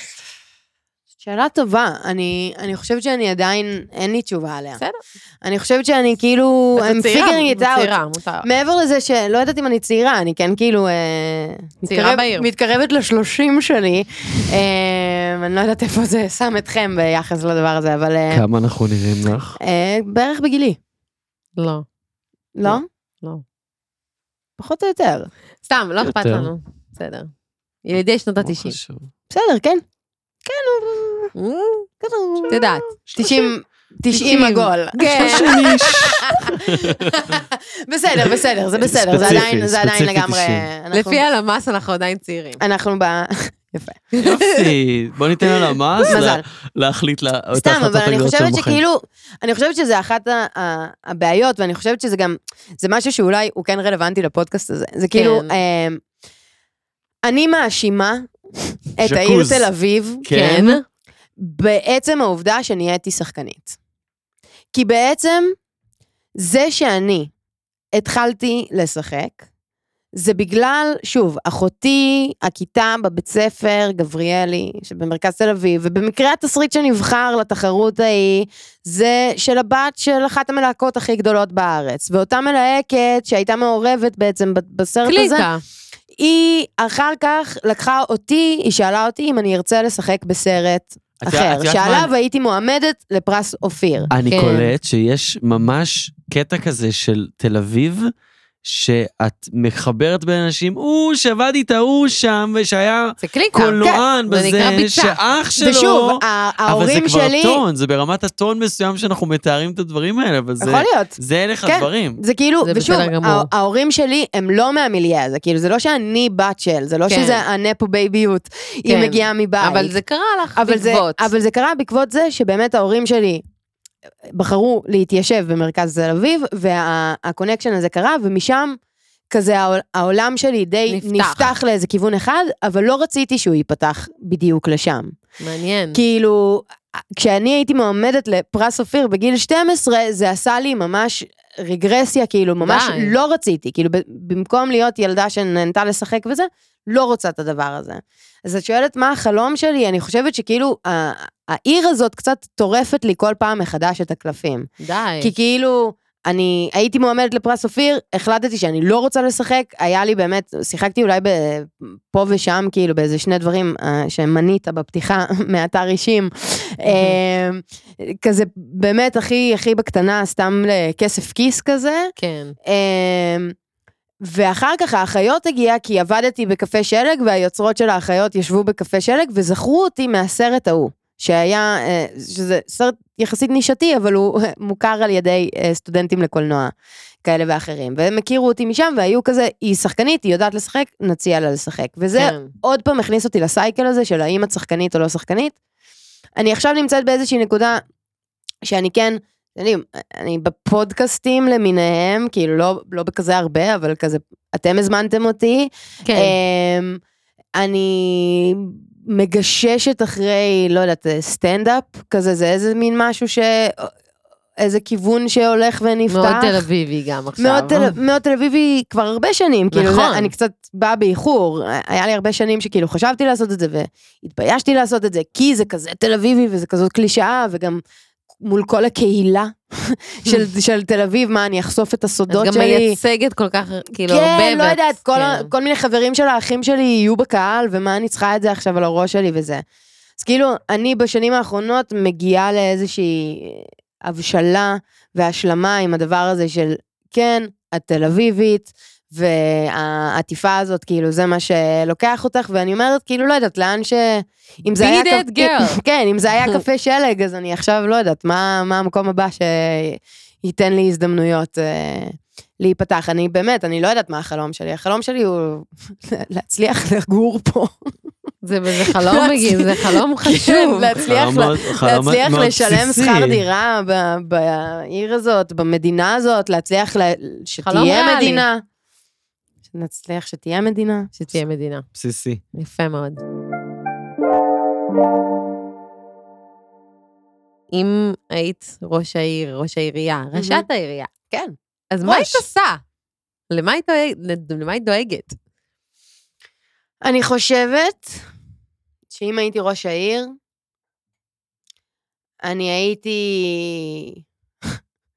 S2: שאלה טובה. אני, אני חושבת שאני עדיין, אין לי תשובה עליה.
S1: בסדר.
S2: אני חושבת שאני כאילו,
S1: את
S2: I'm
S1: צעירה,
S2: figuring it
S1: את
S2: out.
S1: צעירה, מותר.
S2: מעבר לזה שלא יודעת אם אני צעירה, אני כן כאילו... אה,
S1: צעירה
S2: מתקרב-
S1: בעיר.
S2: מתקרבת לשלושים שלי. אה, אני לא יודעת איפה זה שם אתכם ביחס לדבר הזה, אבל...
S1: כן.
S2: אה,
S3: כמה אנחנו נראים לך?
S2: אה, בערך בגילי,
S1: לא.
S2: לא?
S1: לא.
S2: פחות או יותר.
S1: סתם, לא אכפת
S3: יותר.
S1: לנו. בסדר. ילידי שנות
S3: לא
S1: ה-90.
S3: חשוב.
S2: בסדר, כן.
S1: את יודעת.
S2: 90,
S1: 90.
S2: 90 עגול. כן.
S1: כן.
S2: בסדר, בסדר, זה בסדר, זה
S3: ספציפי,
S2: עדיין, זה עדיין
S3: ספציפי
S2: לגמרי...
S3: 90.
S2: אנחנו-
S1: לפי הלמ"ס אנחנו עדיין צעירים.
S2: אנחנו ב... יפה.
S3: יופי, בוא ניתן על המס
S2: מזל.
S3: להחליט לה- את
S2: סתם,
S3: ההחלטות
S2: אבל אני
S3: הגדולות
S2: חושבת
S3: שלנו בחיים.
S2: שכאילו, אני חושבת שזה אחת ה- ה- הבעיות, ואני חושבת שזה גם, זה משהו שאולי הוא כן רלוונטי לפודקאסט הזה. זה כאילו,
S3: כן.
S2: אמ, אני מאשימה את העיר
S3: ז'קוז.
S2: תל אביב
S3: כן.
S2: בעצם העובדה שנהייתי שחקנית. כי בעצם, זה שאני התחלתי לשחק, זה בגלל, שוב, אחותי, הכיתה בבית ספר, גבריאלי, שבמרכז תל אביב, ובמקרה התסריט שנבחר לתחרות ההיא, זה של הבת של אחת המלהקות הכי גדולות בארץ. ואותה מלהקת שהייתה מעורבת בעצם ב- בסרט הזה,
S1: קליקה.
S2: היא אחר כך לקחה אותי, היא שאלה אותי אם אני ארצה לשחק בסרט
S3: את יודעת- את
S2: אחר,
S3: יודעת
S2: שעליו
S3: מה?
S2: הייתי מועמדת לפרס אופיר.
S3: אני
S1: כן.
S3: קולט שיש ממש קטע כזה של תל אביב, שאת מחברת בין אנשים, הוא שעבד איתה, הוא שם, ושהיה
S1: זה קליקה.
S3: קולנוען
S1: זה נקרא
S3: בזה,
S1: ביצה.
S3: שאח שלו.
S2: ושוב, ה-
S3: אבל זה
S2: ההורים
S3: כבר
S2: שלי,
S3: טון, זה ברמת הטון מסוים שאנחנו מתארים את הדברים האלה, אבל זה...
S2: יכול להיות.
S3: זה הלך
S2: כן.
S3: הדברים.
S2: זה כאילו,
S1: זה
S2: ושוב,
S1: בסדר גמור.
S2: הה- ההורים שלי הם לא מהמיליה הזה, כאילו, זה לא שאני בת של, זה לא
S1: כן.
S2: שזה הנפו בייביות, היא
S1: כן.
S2: מגיעה מבית.
S1: אבל זה קרה לך
S2: אבל זה,
S1: בעקבות.
S2: אבל זה קרה בעקבות זה שבאמת ההורים שלי בחרו להתיישב במרכז תל אביב, והקונקשן הזה קרה, ומשם כזה העול- העולם שלי די
S1: נפתח.
S2: נפתח לאיזה כיוון אחד, אבל לא רציתי שהוא ייפתח בדיוק לשם.
S1: מעניין.
S2: כאילו, כשאני הייתי מועמדת לפרס אופיר בגיל 12, זה עשה לי ממש רגרסיה, כאילו, ממש
S1: די.
S2: לא רציתי. כאילו, ב- במקום להיות ילדה שנהנתה לשחק וזה, לא רוצה את הדבר הזה. אז את שואלת מה החלום שלי, אני חושבת שכאילו, ה- העיר הזאת קצת טורפת לי כל פעם מחדש את הקלפים.
S1: די.
S2: כי כאילו, אני הייתי מועמדת לפרס אופיר, החלטתי שאני לא רוצה לשחק, היה לי באמת, שיחקתי אולי ב, פה ושם, כאילו, באיזה שני דברים אה, שמנית בפתיחה מאתר אישים. אה, כזה באמת הכי הכי בקטנה, סתם לכסף כיס כזה.
S1: כן.
S2: אמ, ואחר כך האחיות הגיעה, כי עבדתי בקפה שלג, והיוצרות של האחיות ישבו בקפה שלג, וזכרו אותי מהסרט ההוא, שהיה, אה, שזה סרט יחסית נישתי, אבל הוא מוכר על ידי אה, סטודנטים לקולנוע כאלה ואחרים. והם הכירו אותי משם, והיו כזה, היא שחקנית, היא יודעת לשחק, נציע לה לשחק. וזה
S1: כן.
S2: עוד פעם הכניס אותי לסייקל הזה של האם את שחקנית או לא שחקנית. אני עכשיו נמצאת באיזושהי נקודה שאני כן, אתם יודעים, אני בפודקאסטים למיניהם, כאילו לא, לא בכזה הרבה, אבל כזה, אתם הזמנתם אותי.
S1: כן.
S2: אמ, אני מגששת אחרי, לא יודעת, סטנדאפ כזה, זה איזה מין משהו ש... איזה כיוון שהולך ונפתח.
S1: מאוד תל אביבי גם עכשיו. אה?
S2: מאוד תל- מאוד תל אביבי כבר הרבה שנים, כאילו,
S1: נכון.
S2: זה- אני קצת באה באיחור, היה לי הרבה שנים שכאילו חשבתי לעשות את זה והתביישתי לעשות את זה, כי זה כזה תל אביבי וזה כזאת קלישאה, וגם מול כל הקהילה של, של תל אביב, מה, אני אחשוף את
S1: את
S2: הסודות
S1: גם
S2: שלי.
S1: מייצגת כל כך, כאילו, הרבה.
S2: כן, לא
S1: ואת-
S2: יודעת, כל, ה-
S1: כן.
S2: כל מיני חברים של האחים שלי יהיו בקהל, ומה אני צריכה את זה עכשיו על הראש שלי וזה. אז כאילו, אני בשנים האחרונות מגיעה לאיזושהי הבשלה והשלמה עם הדבר הזה של, כן, את תל אביבית, והעטיפה הזאת, כאילו, זה מה שלוקח אותך, ואני אומרת, כאילו, לא יודעת, לאן ש... אם זה היה...
S1: Be that
S2: קפ-
S1: girl.
S2: כן, אם זה היה קפה שלג, אז אני עכשיו לא יודעת, מה, מה המקום הבא שייתן לי הזדמנויות אה, להיפתח. אני באמת, אני לא יודעת מה החלום שלי. החלום שלי הוא להצליח לגור פה.
S1: זה וזה חלום, מגיע, זה חלום חשוב.
S2: לא כן, להצליח... לה-
S3: חלומות- חלומות
S2: להצליח
S3: מאוד
S2: לשלם
S3: בסיסי.
S2: שכר דירה ב- בעיר הזאת, במדינה הזאת, להצליח ל-
S1: חלום
S2: שתהיה
S1: ריאלי.
S2: מדינה. שנצליח שתהיה מדינה.
S1: שתהיה מדינה.
S3: בסיסי.
S1: יפה מאוד. אם היית ראש העיר, ראש העירייה, ראשת העירייה,
S2: כן.
S1: אז מה היית
S2: ראש.
S1: עושה? למה היית דואג- למה היית דואגת?
S2: אני חושבת שאם הייתי ראש העיר, אני הייתי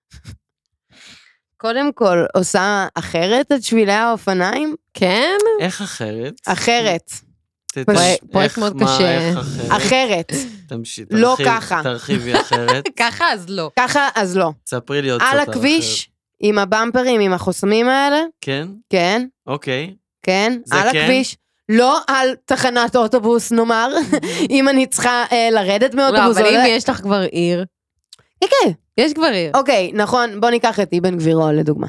S2: קודם כל עושה אחרת את שבילי האופניים,
S1: כן?
S3: איך אחרת?
S2: אחרת,
S3: ת- ת-
S2: פרויקט-
S3: איך-
S1: פרויקט מאוד
S3: מה,
S1: קשה.
S3: איך אחרת?
S2: אחרת.
S3: תמשיך,
S2: לא
S3: תרחיב-
S2: ככה.
S3: תרחיבי אחרת.
S1: ככה אז לא.
S2: ככה, אז לא.
S3: ספרי לי עוד קצת.
S2: על
S3: אחרת.
S2: הכביש, עם הבמפרים, עם החוסמים האלה,
S3: כן?
S2: כן,
S3: אוקיי.
S2: כן,
S3: זה
S2: על
S3: כן?
S2: הכביש. לא על תחנת אוטובוס, נאמר, אם אני צריכה אה, לרדת
S1: לא,
S2: מאוטובוס.
S1: אבל
S2: או
S1: אם
S2: ל-
S1: יש לך כבר עיר,
S2: כן, כן.
S1: יש כבר עיר.
S2: אוקיי, נכון, בוא ניקח את אבן גבירול לדוגמה.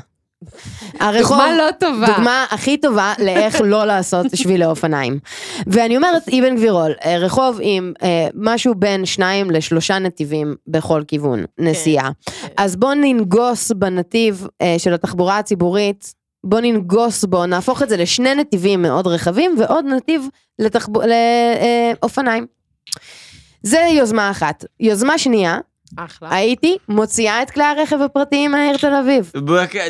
S2: הרחוב,
S1: דוגמה לא טובה.
S2: אוקיי, דוגמה הכי טובה לאיך לא לעשות שבילי אופניים. ואני אומרת, אבן גבירול, אה, רחוב עם אה, משהו בין שניים לשלושה נתיבים בכל כיוון נסיעה. אז בוא ננגוס בנתיב אה, של התחבורה הציבורית, בוא ננגוס בו, נהפוך את זה לשני נתיבים מאוד רחבים ועוד נתיב לתחב... לאופניים. זה יוזמה אחת. יוזמה שנייה,
S1: אחלה.
S2: הייתי מוציאה את כלי הרכב הפרטיים מהעיר תל אביב.
S3: בוא- כן,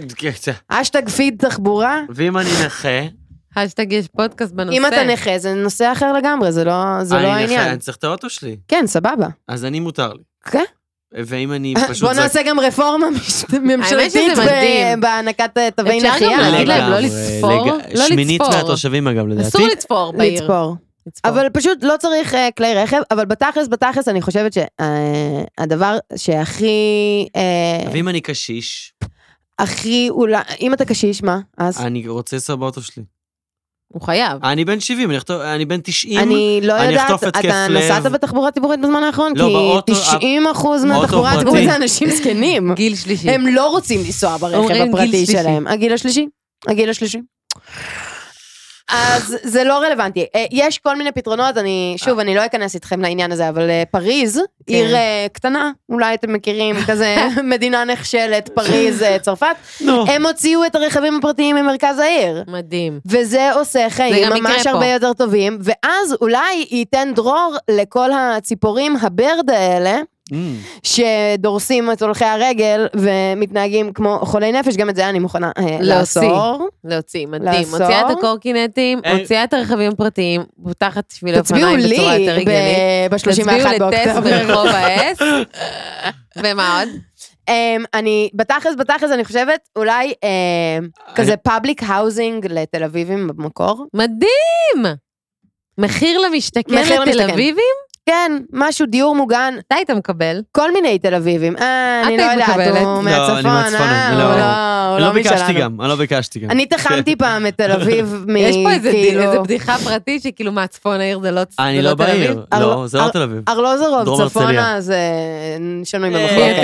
S2: אשטג פיד תחבורה.
S3: ואם אני נכה,
S1: אשטג יש פודקאסט בנושא.
S2: אם אתה נכה זה נושא אחר לגמרי, זה לא, זה לא
S3: אני נכה,
S2: העניין.
S3: אני צריך את האוטו שלי.
S2: כן, סבבה.
S3: אז אני מותר לי.
S2: כן.
S3: ואם אני פשוט...
S2: בוא
S3: זק-
S2: נעשה גם רפורמה מש- ממשלתית
S1: שזה
S2: ב-
S1: מדהים.
S2: בהענקת אה, תווי
S1: אפשר גם
S2: נחייה.
S1: להגיד להם לא
S3: לגמרי,
S1: לצפור,
S3: לג-
S1: לא
S3: שמינית
S1: לצפור.
S3: מהתושבים, אגב, לדעתי.
S1: אסור לצפור בעיר.
S2: לצפור.
S1: לצפור.
S2: אבל פשוט לא צריך אה, כלי רכב, אבל בתכלס, בתכלס אני חושבת שהדבר שהכי... אה,
S3: ואם אני קשיש,
S2: הכי אולי... אם אתה קשיש, מה? אז?
S3: אני רוצה לסבא אוטו שלי.
S1: הוא חייב.
S3: אני בן 70, אני אכתוב- אני בן 90.
S2: אני לא
S3: אני
S2: יודעת,
S3: אחטוף התקף
S2: אתה
S3: לב.
S2: נסעת בתחבורה ציבורית בזמן האחרון?
S3: לא, באוטו-
S2: כי 90 אחוז
S3: באוטו
S2: מהתחבורה
S3: הפרטי.
S2: הציבורית זה אנשים זקנים.
S1: גיל שלישי.
S2: הם לא רוצים לנסוע
S1: כן. אומרים
S2: ברכב
S1: גיל
S2: הפרטי
S1: שלישי.
S2: שלהם. הגיל השלישי. הגיל השלישי. אז זה לא רלוונטי. אה, יש כל מיני פתרונות, אני, שוב, אני לא אכנס איתכם לעניין הזה, אבל אה, פריז,
S1: כן.
S2: עיר אה, קטנה, אולי אתם מכירים, כזה מדינה נחשלת, פריז, אה, צרפת,
S3: נו.
S2: הם הוציאו את הרכבים הפרטיים ממרכז העיר.
S1: מדהים.
S2: וזה עושה חיים
S1: גם יקרה
S2: ממש
S1: פה.
S2: הרבה יותר טובים, ואז אולי ייתן דרור לכל הציפורים הברד האלה,
S4: Mm.
S3: אמ,
S2: שדורסים את הולכי הרגל ומתנהגים כמו חולי נפש, גם את זה אני מוכנה אה,
S1: להוציא.
S2: לאסור.
S1: להוציא, מדהים.
S2: לעשור?
S1: מוציאה את הקורקינטים,
S3: אה.
S1: מוציאה את הרכבים הפרטיים, פותחת שביל
S2: תצביעו
S1: אופניים
S2: לי
S1: בצורה יותר הגיונית.
S2: ב-31
S1: תצביעו לטס
S2: באוקטובר.
S1: ברחוב האס. ומה עוד?
S2: אמ, אני, בתכלס, בתכלס, אני חושבת, אולי אמ, כזה פאבליק האוזינג לתל אביבים במקור.
S1: מדהים! מחיר למשתכן
S2: מחיר
S1: לתל
S2: למשתכן.
S1: אביבים?
S2: כן, משהו, דיור מוגן,
S1: אתה היית מקבל.
S2: כל מיני תל אביבים. אה,
S1: את
S2: אני לא
S1: היית
S2: יודעת,
S1: מקבלת.
S2: הוא
S1: לא,
S3: אני
S2: מהצפון, אה,
S3: מהצפון,
S2: הוא
S3: לא.
S2: לא, הוא
S3: אני
S2: לא
S3: לא ביקשתי
S2: משלנו.
S3: גם, אני לא ביקשתי גם.
S2: אני תחמתי פעם את תל אביב, מ-
S1: יש פה איזה דיל-
S2: כאילו,
S1: איזה בדיחה פרטית שכאילו מהצפון העיר זה לא צ-
S3: אני
S1: זה
S3: לא
S1: תל אביב?
S3: בעיר. לא,
S2: ארלו-
S3: זה לא
S2: אר-
S3: תל אביב. דרום
S2: ארלוזורוב,
S3: הרצליה.
S2: צפונה זה שנוי
S3: אה,
S2: במחלוקת.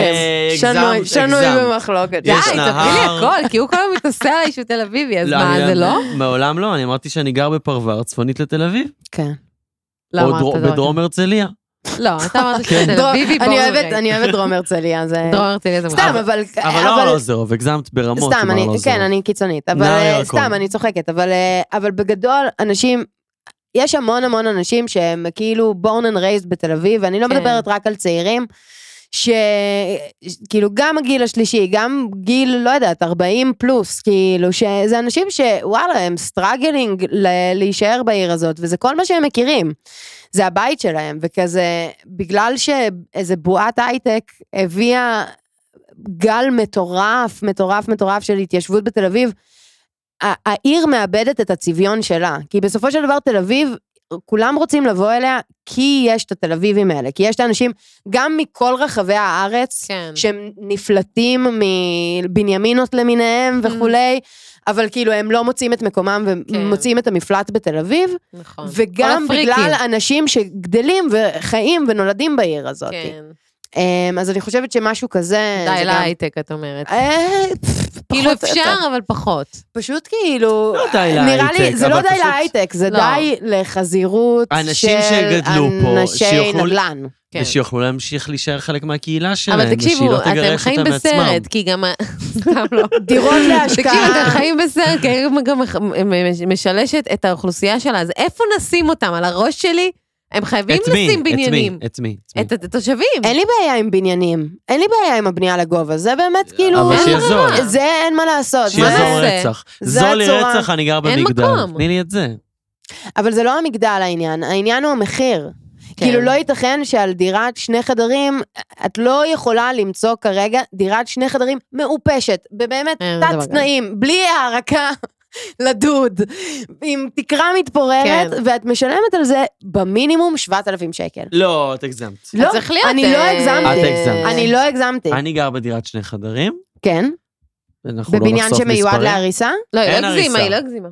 S3: הגזמת,
S2: שנוי- שנוי
S3: הגזמת.
S2: במחלוקת.
S1: די,
S3: יש
S1: תספרי לי
S3: נהר.
S1: הכל, כי הוא כל הזמן מתנשא עליי שהוא תל אביבי, אז מה,
S3: אני-
S1: זה לא?
S3: מעולם לא, אני אמרתי שאני גר בפרבר, צפונית לתל אביב.
S2: כן.
S1: לא
S3: או
S1: אמרת
S3: דרום-
S1: דבר
S3: בדרום כן. הרצליה.
S1: כזה. לא, אתה אמרת שאתה תל
S2: דרום-
S1: אביבי, בואו
S2: אני
S1: רגע.
S2: אוהבת- אני אוהבת דרום הרצליה, זה...
S1: דרום הרצליה זה
S2: סתם,
S1: מוכר.
S2: אבל...
S3: אבל לא ארלוזורוב, הגזמת ברמות לא
S2: סתם,
S3: עם
S2: אני,
S3: ארלוזורוב.
S2: כן, אני קיצונית, אבל
S3: נער
S2: אה,
S3: ירקון.
S2: סתם, אני צוחקת, אבל, אה, אבל בגדול, אנשים, יש המון המון אנשים שהם כאילו born and raised בתל אביב, ואני לא
S1: כן.
S2: מדברת רק על צעירים, שכאילו גם הגיל השלישי, גם גיל, לא יודעת, 40 פלוס, כאילו, שזה אנשים שוואלה, הם סטראגלינג ל- להישאר בעיר הזאת, וזה כל מה שהם מכירים. זה הבית שלהם, וכזה, בגלל שאיזה בועת הייטק הביאה גל מטורף, מטורף, מטורף של התיישבות בתל אביב, ה- העיר מאבדת את הצביון שלה. כי בסופו של דבר תל אביב, כולם רוצים לבוא אליה, כי יש את התל אביבים האלה, כי יש את האנשים, גם מכל רחבי הארץ,
S1: כן.
S2: שהם נפלטים מבנימינות למיניהם
S1: Mm.
S2: וכולי, אבל כאילו הם לא מוצאים את מקומם
S1: כן.
S2: ומוצאים את המפלט בתל אביב,
S1: נכון.
S2: וגם
S1: כל הפריקים. כן.
S2: בגלל אנשים שגדלים וחיים ונולדים בעיר הזאת.
S1: כן.
S2: אמ, אז אני חושבת שמשהו כזה... אוקיי. אה, זה
S1: די
S2: גם-
S1: להייטק, את אומרת.
S2: אה, פפ,
S1: כאילו
S2: פחות או יותר.
S1: אפשר, אבל פחות.
S2: פשוט כאילו...
S3: לא די
S2: נראה
S3: להייטק,
S2: לי, זה לא
S3: אבל
S2: די
S3: פשוט-
S2: להייטק, זה
S1: לא.
S2: די לחזירות של
S3: אנשים שגדלו פה,
S2: אנשי
S3: שיוכלו-
S2: נדל"ן.
S1: כן.
S3: ושיוכלו להמשיך להישאר חלק מהקהילה שלהם,
S1: אבל
S3: ושהיא
S1: תקשיבו,
S3: לא
S1: אתם
S3: תגרש
S1: חיים
S3: אותם מעצמם.
S1: בסרט, כי גם... ה- סתם לא.
S2: דירות להשקעה.
S1: תקשיבו, אתם חיים בסרט, כי העיר גם מח- מ- מ- משלשת את האוכלוסייה שלה, אז איפה נשים אותם? על הראש שלי? הם חייבים
S3: את מי?
S1: לשים בניינים.
S3: את מי? את מי? את מי?
S1: את התושבים.
S2: אין לי בעיה עם בניינים, אין לי בעיה עם הבנייה לגובה, זה באמת כאילו...
S3: אבל
S1: אין
S3: שיהיה
S1: ברירה.
S3: זול.
S2: זה אין מה לעשות,
S3: שיהיה
S1: מה
S2: זה-
S3: זול
S1: נעשה?
S3: רצח.
S2: זה
S3: זול
S2: הצורה.
S3: לרצח, אני גר
S1: אין
S3: במגדל.
S1: מקום.
S3: תני לי את זה.
S2: אבל זה לא המגדל העניין, העניין הוא המחיר.
S1: כן.
S2: כאילו לא ייתכן שעל דירת שני חדרים, את לא יכולה למצוא כרגע דירת שני חדרים מעופשת, באמת
S1: אין דבר
S2: תת
S1: כזה.
S2: תנאים, בלי הערקה לדוד, עם תקרה מתפוררת,
S1: כן.
S2: ואת משלמת על זה במינימום 7,000 שקל.
S3: לא, את הגזמת.
S2: לא,
S1: צריך להיות,
S2: אני לא
S1: אה,
S2: הגזמתי.
S3: את הגזמת.
S2: אני לא הגזמתי.
S3: אני גר בדירת שני חדרים,
S2: כן,
S3: אנחנו לא
S2: בבניין
S3: נחשוף
S2: שמיועד
S3: מספרים.
S2: להריסה.
S1: לא, היא
S3: אין
S1: לא הגזימה,
S3: הריסה.
S1: היא לא הגזימה.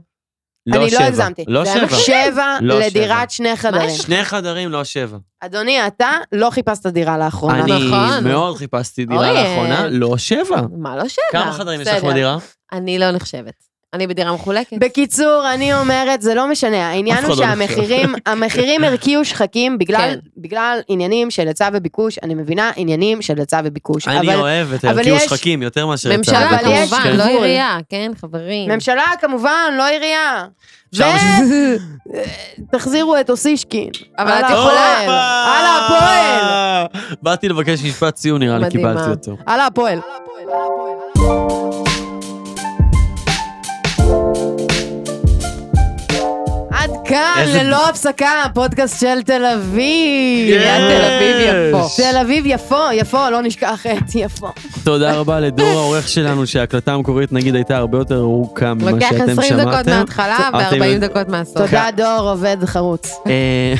S2: אני לא
S3: שבע.
S2: הגזמתי.
S3: לא
S2: זה היה
S3: שבע.
S2: שבע
S3: לא שבע.
S2: לדירת שני חדרים.
S3: שני חדרים, לא שבע.
S2: אדוני, אתה לא חיפשת דירה לאחרונה.
S3: אני
S1: נכון.
S3: מאוד חיפשתי דירה
S1: אוי,
S3: לאחרונה,
S1: אה.
S3: לא שבע.
S1: מה לא שאלה?
S3: כמה חדרים יש לך
S1: בסדר.
S3: בדירה?
S1: אני לא נחשבת. אני בדירה מחולקת.
S2: בקיצור, אני אומרת, זה לא משנה. העניין
S3: אף
S2: הוא
S3: אחד לא
S2: שהמחירים, המחירים הרקיעו שחקים בגלל, בגלל עניינים של היצע וביקוש. אני מבינה עניינים של היצע וביקוש.
S3: אני
S2: אבל
S3: אוהב את
S2: אבל
S3: הרקיעו
S2: יש-
S3: שחקים יותר מאשר את
S1: ממשלה
S2: אבל יש
S1: כמובן,
S2: גבול.
S1: לא עירייה, כן, חברים?
S2: ממשלה, כמובן, לא עירייה.
S3: אפשר
S1: לא-
S2: תחזירו את אוסישקין.
S1: אבל
S2: על
S1: את
S3: לא.
S2: הפועל,
S1: יכולה.
S2: על הפועל!
S3: הפועל! באתי לבקש משפט סיום, נראה לי
S1: מדהימה.
S3: קיבלתי אותו.
S2: על הפועל. עד כאן
S3: איזה-
S2: ללא הפסקה, הפודקאסט של תל אביב.
S1: עיריית
S3: כן.
S1: תל אביב יפו.
S3: יש.
S2: תל אביב יפו, יפו, לא נשכח את יפו.
S3: תודה רבה לדור העורך שלנו, שההקלטה המקורית נגיד הייתה הרבה יותר ארוכה ממה
S1: לוקח
S3: שאתם
S1: 20 דקות
S3: שמעתם.
S1: מההתחלה
S3: אתם-
S1: ו-40 דקות מהסוף.
S2: תודה, דור, עובד חרוץ.
S3: אה,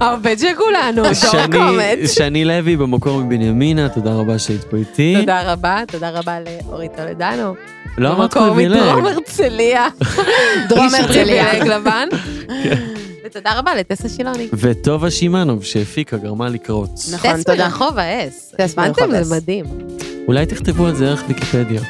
S1: העובד של כולנו, דור
S3: שני-
S1: קומץ.
S3: שני לוי במקור מבנימינה, תודה רבה שהיית פה איתי.
S1: תודה רבה, תודה רבה לאורית טולדנו.
S3: לא אמרת
S1: במקור מדרום
S3: פריבילג.
S1: הרצליה.
S2: דרום
S1: איש
S2: הרצליה.
S1: פריבילג לבן. ותודה רבה לטסה שילוני.
S3: וטובה שמענוב שהפיקה גרמה לקרות.
S2: נכון.
S1: טס
S2: תודה.
S1: מרחוב האס.
S2: טס
S1: הבנתם?
S2: מרחוב האס.
S1: זה מדהים.
S3: אולי תכתבו על זה ערך ויקיפדיה.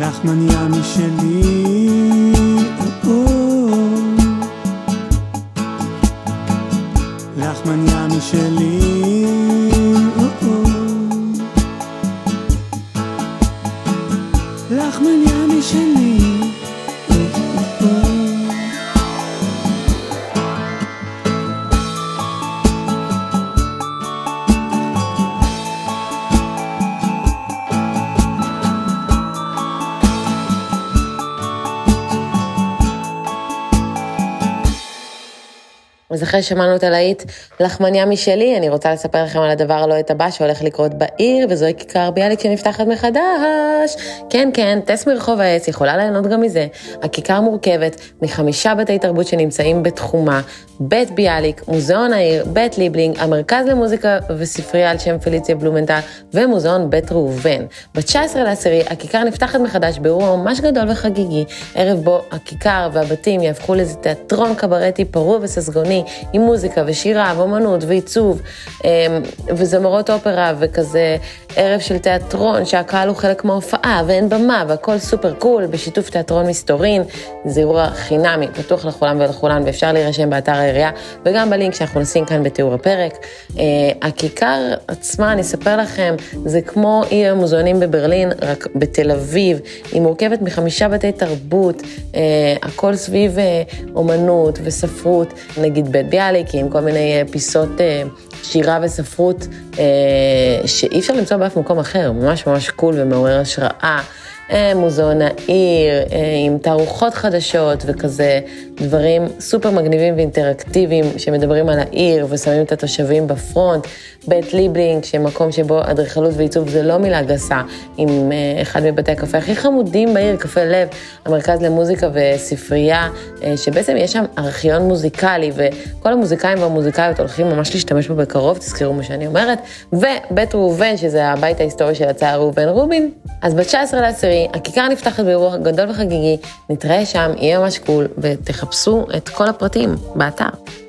S5: לחמניה משלי. לחמניה משלי. לחמניה משלי.
S1: אז אחרי ששמענו את הלהיט לחמניה משלי, אני רוצה לספר לכם על הדבר הלא את הבא שהולך לקרות בעיר, וזוהי כיכר ביאליק שנפתחת מחדש. כן, כן, טס מרחוב העץ יכולה ליהנות גם מזה. הכיכר מורכבת מחמישה בתי תרבות שנמצאים בתחומה, בית ביאליק, מוזיאון העיר, בית ליבלינג, המרכז למוזיקה וספרייה על שם פליציה בלומנטל, ומוזיאון בית ראובן. ב-19 לעשירי הכיכר נפתחת מחדש באירוע ממש גדול וחגיגי, ערב בו הכיכר והבתים יהפכו לאיזה תיאטרון קברטי פרוע וססגוני, עם מוזיקה ושירה ואומנות ועיצוב, אמ, וזמרות אופרה וכזה ערב של תיאטרון שהקהל הוא חלק מההופעה ואין במה והכל סופר קול, בשיתוף תיאטרון מסתורין, זה אירוע חינמי, פתוח לכולם ולכולן ואפשר להירשם באתר העירייה וגם בלינק שאנחנו נשים כאן בתיאור הפרק. אה, הכיכר עצמה, אני אספר לכם, זה כמו עיר המוזיאונים בברלין, רק בתל אביב. היא מורכבת מחמישה בתי תרבות, אה, הכל סביב אה, אומנות וספרות, נגיד בית ביאליק, עם כל מיני אה, פיסות אה, שירה וספרות אה, שאי אפשר למצוא באף מקום אחר, ממש ממש קול ומעורר השראה. אה, מוזיאון העיר, אה, עם תערוכות חדשות וכזה דברים סופר מגניבים ואינטראקטיביים שמדברים על העיר ושמים את התושבים בפרונט. בית ליבלינג, שמקום שבו אדריכלות ועיצוב זה לא מילה גסה, עם אה, אחד מבתי הקפה הכי חמודים בעיר, קפה לב, המרכז למוזיקה וספרייה, אה, שבעצם יש שם ארכיון מוזיקלי, וכל המוזיקאים והמוזיקאיות הולכים ממש להשתמש בו בקרוב, תזכרו מה שאני אומרת, ובית ראובן, שזה הבית ההיסטורי של הצער ראובן רובין. אז ב-19 לעשירי, הכיכר נפתחת באירוע גדול וחגיגי, נתראה שם, יהיה ממש קול, ותחפשו את כל הפרטים באתר.